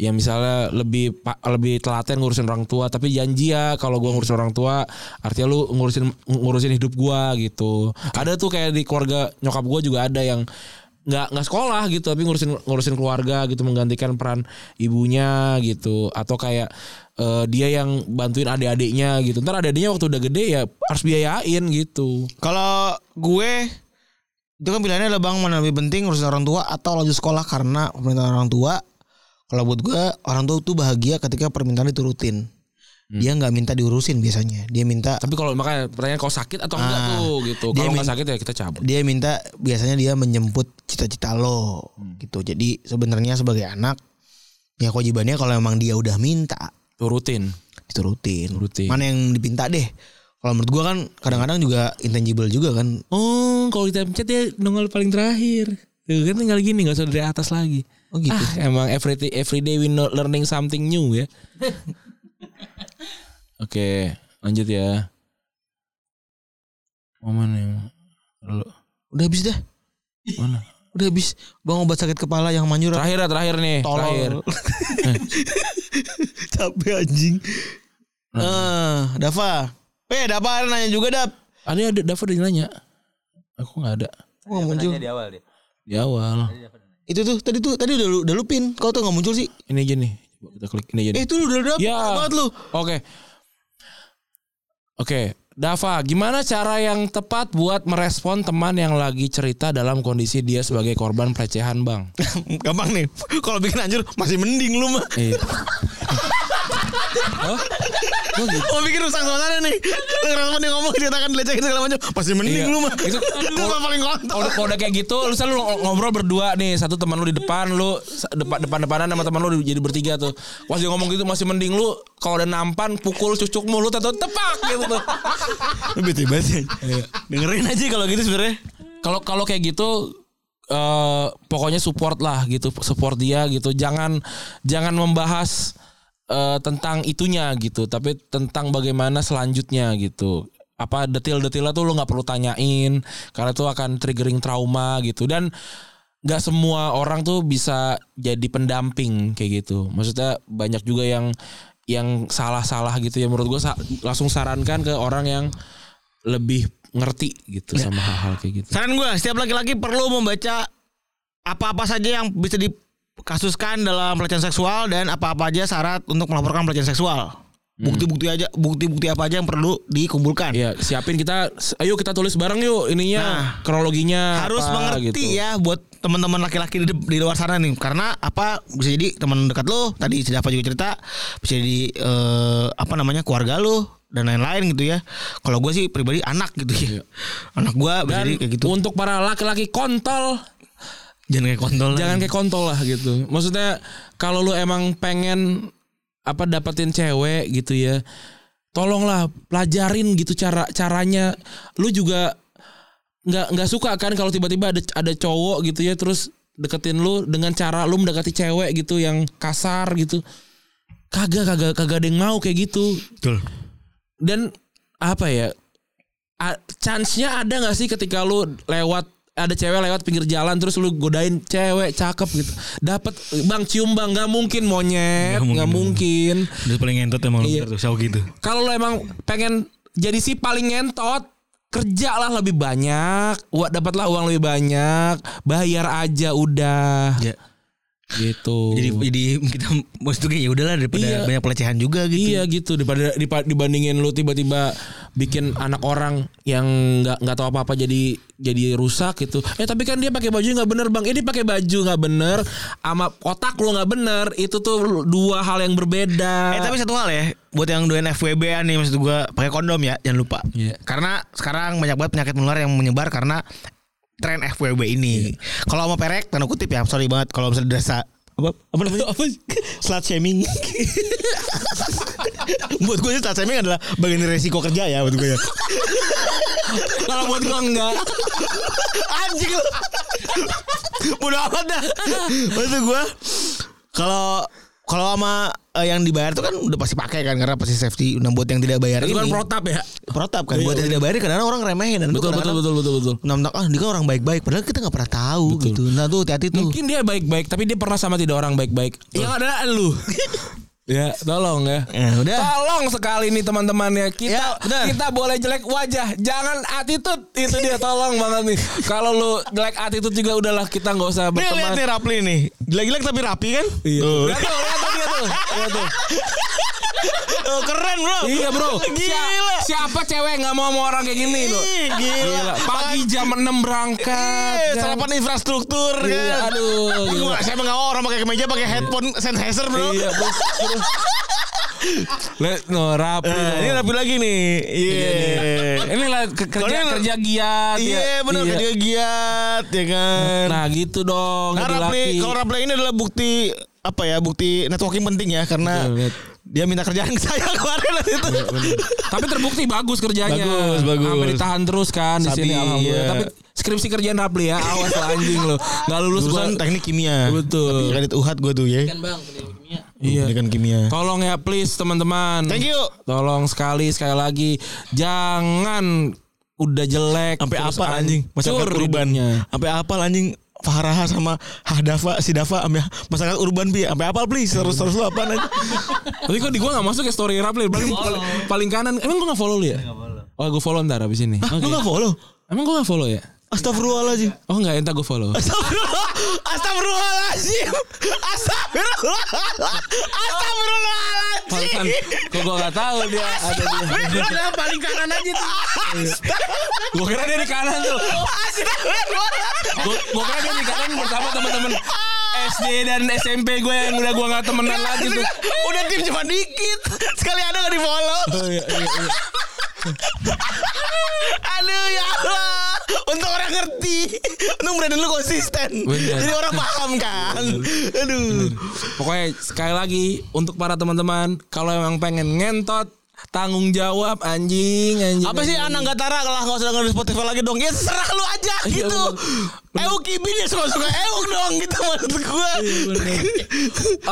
yang misalnya lebih pa- lebih telaten ngurusin orang tua tapi janji ya kalau gua ngurusin orang tua artinya lu ngurusin ngurusin hidup gua gitu ada tuh kayak di keluarga nyokap gua juga ada yang nggak nggak sekolah gitu tapi ngurusin ngurusin keluarga gitu menggantikan peran ibunya gitu atau kayak eh, dia yang bantuin adik-adiknya gitu ntar adik-adiknya waktu udah gede ya harus biayain gitu
Kalau gue itu kan pilihannya adalah bang mana lebih penting ngurusin orang tua atau lanjut sekolah karena permintaan orang tua. Kalau buat gue orang tua tuh bahagia ketika permintaan diturutin. Dia nggak minta diurusin biasanya. Dia minta
Tapi kalau makanya pertanyaan kau sakit atau enggak
Ah,
tuh gitu.
dia
Kalau
min-
enggak sakit ya kita cabut.
dia minta biasanya dia menjemput cita-cita lo gitu. Jadi sebenarnya sebagai anak ya kewajibannya kalau emang dia udah minta
Turutin.
diturutin.
Turutin.
Mana yang dipinta deh. Kalau menurut gua kan kadang-kadang juga intangible juga kan.
Oh, kalau kita pencet ya nongol paling terakhir. Tuh, kan tinggal gini nggak usah dari atas lagi.
Oh gitu.
Ah, emang every day, every day we know- learning something new ya. Oke, lanjut ya. Oh, mana yang Lu-
Udah habis dah.
mana?
Udah habis. Bang obat sakit kepala yang manjur.
Terakhir ya, terakhir nih, terakhir.
Tolol. Capek anjing. Eh, Dava. Eh, Dava ada nanya juga, Dap.
Ada ada Dava udah nanya. Aku nggak ada
Kok nggak muncul?
di awal.
Itu tuh tadi tuh tadi udah lu udah lupin. Kau tuh nggak muncul sih?
Ini aja nih. Coba kita klik ini aja. nih.
Eh, itu lu udah dap.
Ya.
Parah banget lu.
Oke. Oke, Dava, gimana cara yang tepat buat merespon teman yang lagi cerita dalam kondisi dia sebagai korban pelecehan, Bang?
Gampang nih. Kalau bikin anjir masih mending lu mah.
Iya. Oh, iya.
Mau bikin rusak suasana nih. Lu Kenapa dia ngomong ceritakan dilecehin segala macam. Masih mending
Iya.
lu mah.
Itu-
Itu mah paling
Kalau
kontol.
udah, kalau udah kayak gitu, lu selalu ng- ngobrol berdua nih, satu teman lu di depan, lu sa- depan depan depanan sama teman lu di- jadi bertiga tuh. Pas dia ngomong gitu masih mending lu kalau udah nampan pukul cucuk mulut atau tepak gitu tuh. Oh,
Lu bete banget sih. Dengerin aja kalau gitu sebenarnya.
Kalau kalau kayak gitu eh pokoknya support lah gitu, support dia gitu. Jangan jangan membahas eh, tentang itunya gitu, tapi tentang bagaimana selanjutnya gitu. Apa detil-detilnya tuh lu nggak perlu tanyain karena itu akan triggering trauma gitu dan nggak semua orang tuh bisa jadi pendamping kayak gitu. Maksudnya banyak juga yang yang salah-salah gitu ya menurut gue langsung sarankan ke orang yang lebih ngerti gitu sama hal-hal kayak gitu.
Saran gue, setiap laki-laki perlu membaca apa-apa saja yang bisa dikasuskan dalam pelecehan seksual dan apa-apa aja syarat untuk melaporkan pelecehan seksual. Bukti-bukti aja, bukti-bukti apa aja yang perlu dikumpulkan.
Hmm. Iya, siapin kita ayo kita tulis bareng yuk ininya
Nah,
kronologinya
harus
apa,
mengerti
gitu.
ya buat teman-teman laki-laki di, di luar sana nih karena apa bisa jadi teman dekat lo tadi si Dafa juga cerita bisa jadi eh, apa namanya keluarga lo dan lain-lain gitu ya kalau gue sih pribadi anak gitu ya anak gue bisa
Iya. Dan
jadi kayak gitu
untuk para laki-laki kontol
jangan kayak kontol
jangan kayak kontol lah gitu. Maksudnya kalau lu emang pengen apa dapetin cewek gitu ya, tolonglah pelajarin gitu cara caranya. Lu juga nggak nggak suka kan kalau tiba-tiba ada ada cowok gitu ya terus deketin lu dengan cara lu mendekati cewek gitu yang kasar gitu. Kagak kagak kagak ada yang mau kayak gitu
betul
dan apa ya a- chance-nya ada nggak sih ketika lu lewat ada cewek lewat pinggir jalan terus lu godain cewek cakep gitu dapat bang cium bang nggak mungkin
Nggak mungkin,
monyet nggak
nggak
mungkin
udah paling ngentot emang
Iya.
bener tuh sawo gitu
kalau lo emang pengen jadi si paling ngentot kerjalah lebih banyak wa- dapatlah uang lebih banyak bayar aja udah
Ya.
gitu
jadi jadi kita maksudnya ya udahlah daripada
Iya.
banyak pelecehan juga gitu
Iya gitu daripada dipa- dibandingin lu tiba-tiba bikin anak orang yang nggak nggak tahu apa-apa jadi jadi rusak gitu. Eh tapi kan dia pakai baju nggak bener bang. Ini pakai baju nggak bener, ama otak lu nggak bener. Itu tuh dua hal yang berbeda.
Eh tapi satu hal ya Buat yang doain FWB an nih Maksud gue pakai kondom ya Jangan lupa
Iya.
Karena sekarang banyak banget penyakit menular Yang menyebar karena Tren FWB ini Kalau mau perek Tanda kutip ya Sorry banget Kalau misalnya desa apa, apa namanya? apa? Slut shaming Buat gue sih slut shaming adalah Bagian dari resiko kerja ya Buat gue ya
kalau buat gua enggak.
Anjing lu. Bodoh amat dah. Maksud gua kalau kalau sama eh, yang dibayar tuh kan udah pasti pakai kan karena pasti safety. Nah buat yang tidak bayar
Itu kan
ini
protap ya.
protap kan buat yang tidak bayar kadang orang remehin dan
Betul betul betul betul betul.
Nah, ah dia kan orang baik-baik padahal kita nggak pernah tahu gitu. Nah tuh hati-hati tuh.
Mungkin dia baik-baik tapi dia pernah sama tidak orang baik-baik. Yang ada lu. ya, tolong ya.
Eh, udah.
Tolong sekali nih teman-teman ya. Kita
Ya, benar.
kita boleh jelek wajah, jangan attitude. Itu dia tolong banget nih. Kalau lu jelek attitude juga udahlah kita nggak usah
Nih lihat nih
berteman.
Rapli nih. Gila-gila tapi rapi kan?
Iya.
Tuh.
Lihat tuh, lihat tuh, lihat tuh, lihat tuh.
Tuh, Oh, keren bro.
Iya bro.
Gila.
Siapa, siapa cewek nggak mau sama orang kayak gini bro?
Ih, Gila.
Pagi jam 6 berangkat.
Eh,
jam-
sarapan infrastruktur kan.
Iya, aduh, gila.
Gimana? Saya mengawal orang pakai kemeja pakai headphone Sennheiser, Bro.
Iya, bro. Lihat, no, rapi.
Nah,
dong.
ini rapi lagi nih. Iya.
Ini lah ke- kerja
Soalnya-
kerja giat. ya.
Iya, benar
Iya.
kerja giat ya kan.
Nah gitu dong.
Nah,
jadi laki.
rapli, kalau rapli ini adalah bukti apa ya? Bukti networking penting ya karena
Betul, betul.
dia minta kerjaan ke saya kemarin waktu itu.
Tapi terbukti bagus kerjanya.
Bagus, bagus.
Sampai ditahan terus kan di
Sabi,
sini alhamdulillah.
iya.
Tapi skripsi kerjaan Rapli ya, awas lo anjing lo. Enggak lulus gua.
Jurusan teknik kimia.
Betul.
Tapi Kredit UHAT gue tuh ya.
Kan bang, pendidikan kimia.
Iya.
Pendidikan kimia.
Tolong ya please teman-teman.
Thank you.
Tolong sekali sekali lagi jangan udah jelek
sampai
terus
apa anjing masyarakat
hancur
urban
hidupnya.
sampai apa anjing Fahraha sama Hadafa si Dafa sampai masyarakat urban bi sampai apa please terus terus lu apa anjing
Tapi kok di gua gak masuk ya story Rapli paling, paling, paling kanan Emang gua gak follow lu ya? Oh gue follow ntar abis ini
lu nggak follow
Emang gua gak follow ya?
Astagfirullahaladzim.
Oh enggak, entah gue follow.
Astagfirullah. Astagfirullahaladzim. Astagfirullah.
Pantesan,
Astagfirullahaladzim.
kan- kok gue gak tahu dia ada dia.
Udah paling kanan aja tuh.
Gue kira dia di kanan tuh. Gue gue kira dia di kanan bersama teman-teman SD dan SMP gue yang udah gue gak temenan lagi tuh.
Udah tim cuma dikit. Sekali ada gak di follow.
Oh, iya, iya, iya.
Aduh ya Allah. Untung orang ngerti. Untung brandon lu konsisten.
Bener.
Jadi orang paham kan. Aduh.
Pokoknya sekali lagi untuk para teman-teman kalau emang pengen ngentot tanggung jawab anjing anjing.
Apa sih anak nggak tara lah nggak usah dengerin Spotify lagi dong. Ya serah lu aja
Iya,
gitu.
bener. Iya,
Euk ibin ya suka-suka euk dong gitu maksud gua.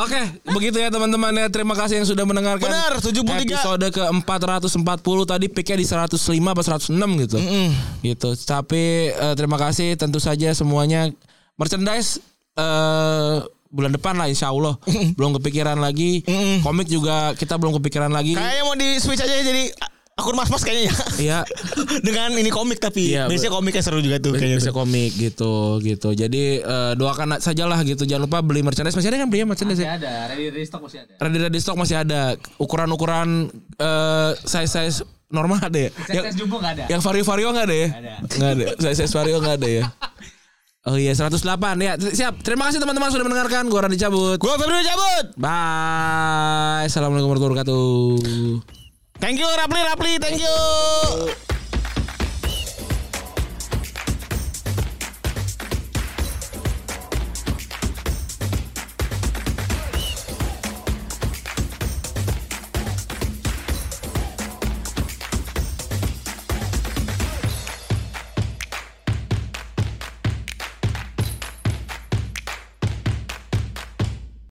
Oke, begitu ya teman-teman ya. Terima kasih yang sudah mendengarkan.
Benar, 73.
Episode ke-440 tadi pick-nya di 105 apa 106 gitu.
Hmm.
Gitu. Tapi eh, terima kasih tentu saja semuanya merchandise eh bulan depan lah insya Allah belum kepikiran lagi komik juga kita belum kepikiran lagi
Kayaknya mau di switch aja ya, jadi akun mas-mas kayaknya ya.
Iya
Dengan ini komik tapi
Iya,
biasanya komiknya seru juga tuh kayaknya.
bisa
tuh.
komik gitu gitu jadi eh, doakan sajalah gitu jangan lupa beli merchandise masih ada kan beli ya merchandise ya?
Masih ada, ready ready stock masih ada.
Ready Ready Stock masih ada ukuran-ukuran eh size size normal ada ya. Yang,
Tes jumbo enggak ada.
yang vario vario nggak ada ya?
ada.
Nggak ada. Size size vario nggak ada ya. Oh iya 108 ya siap. Terima kasih teman-teman sudah mendengarkan. Gua Randy cabut.
Gua Febri cabut.
Bye. Assalamualaikum warahmatullahi wabarakatuh.
Thank you Rapli Rapli, thank you.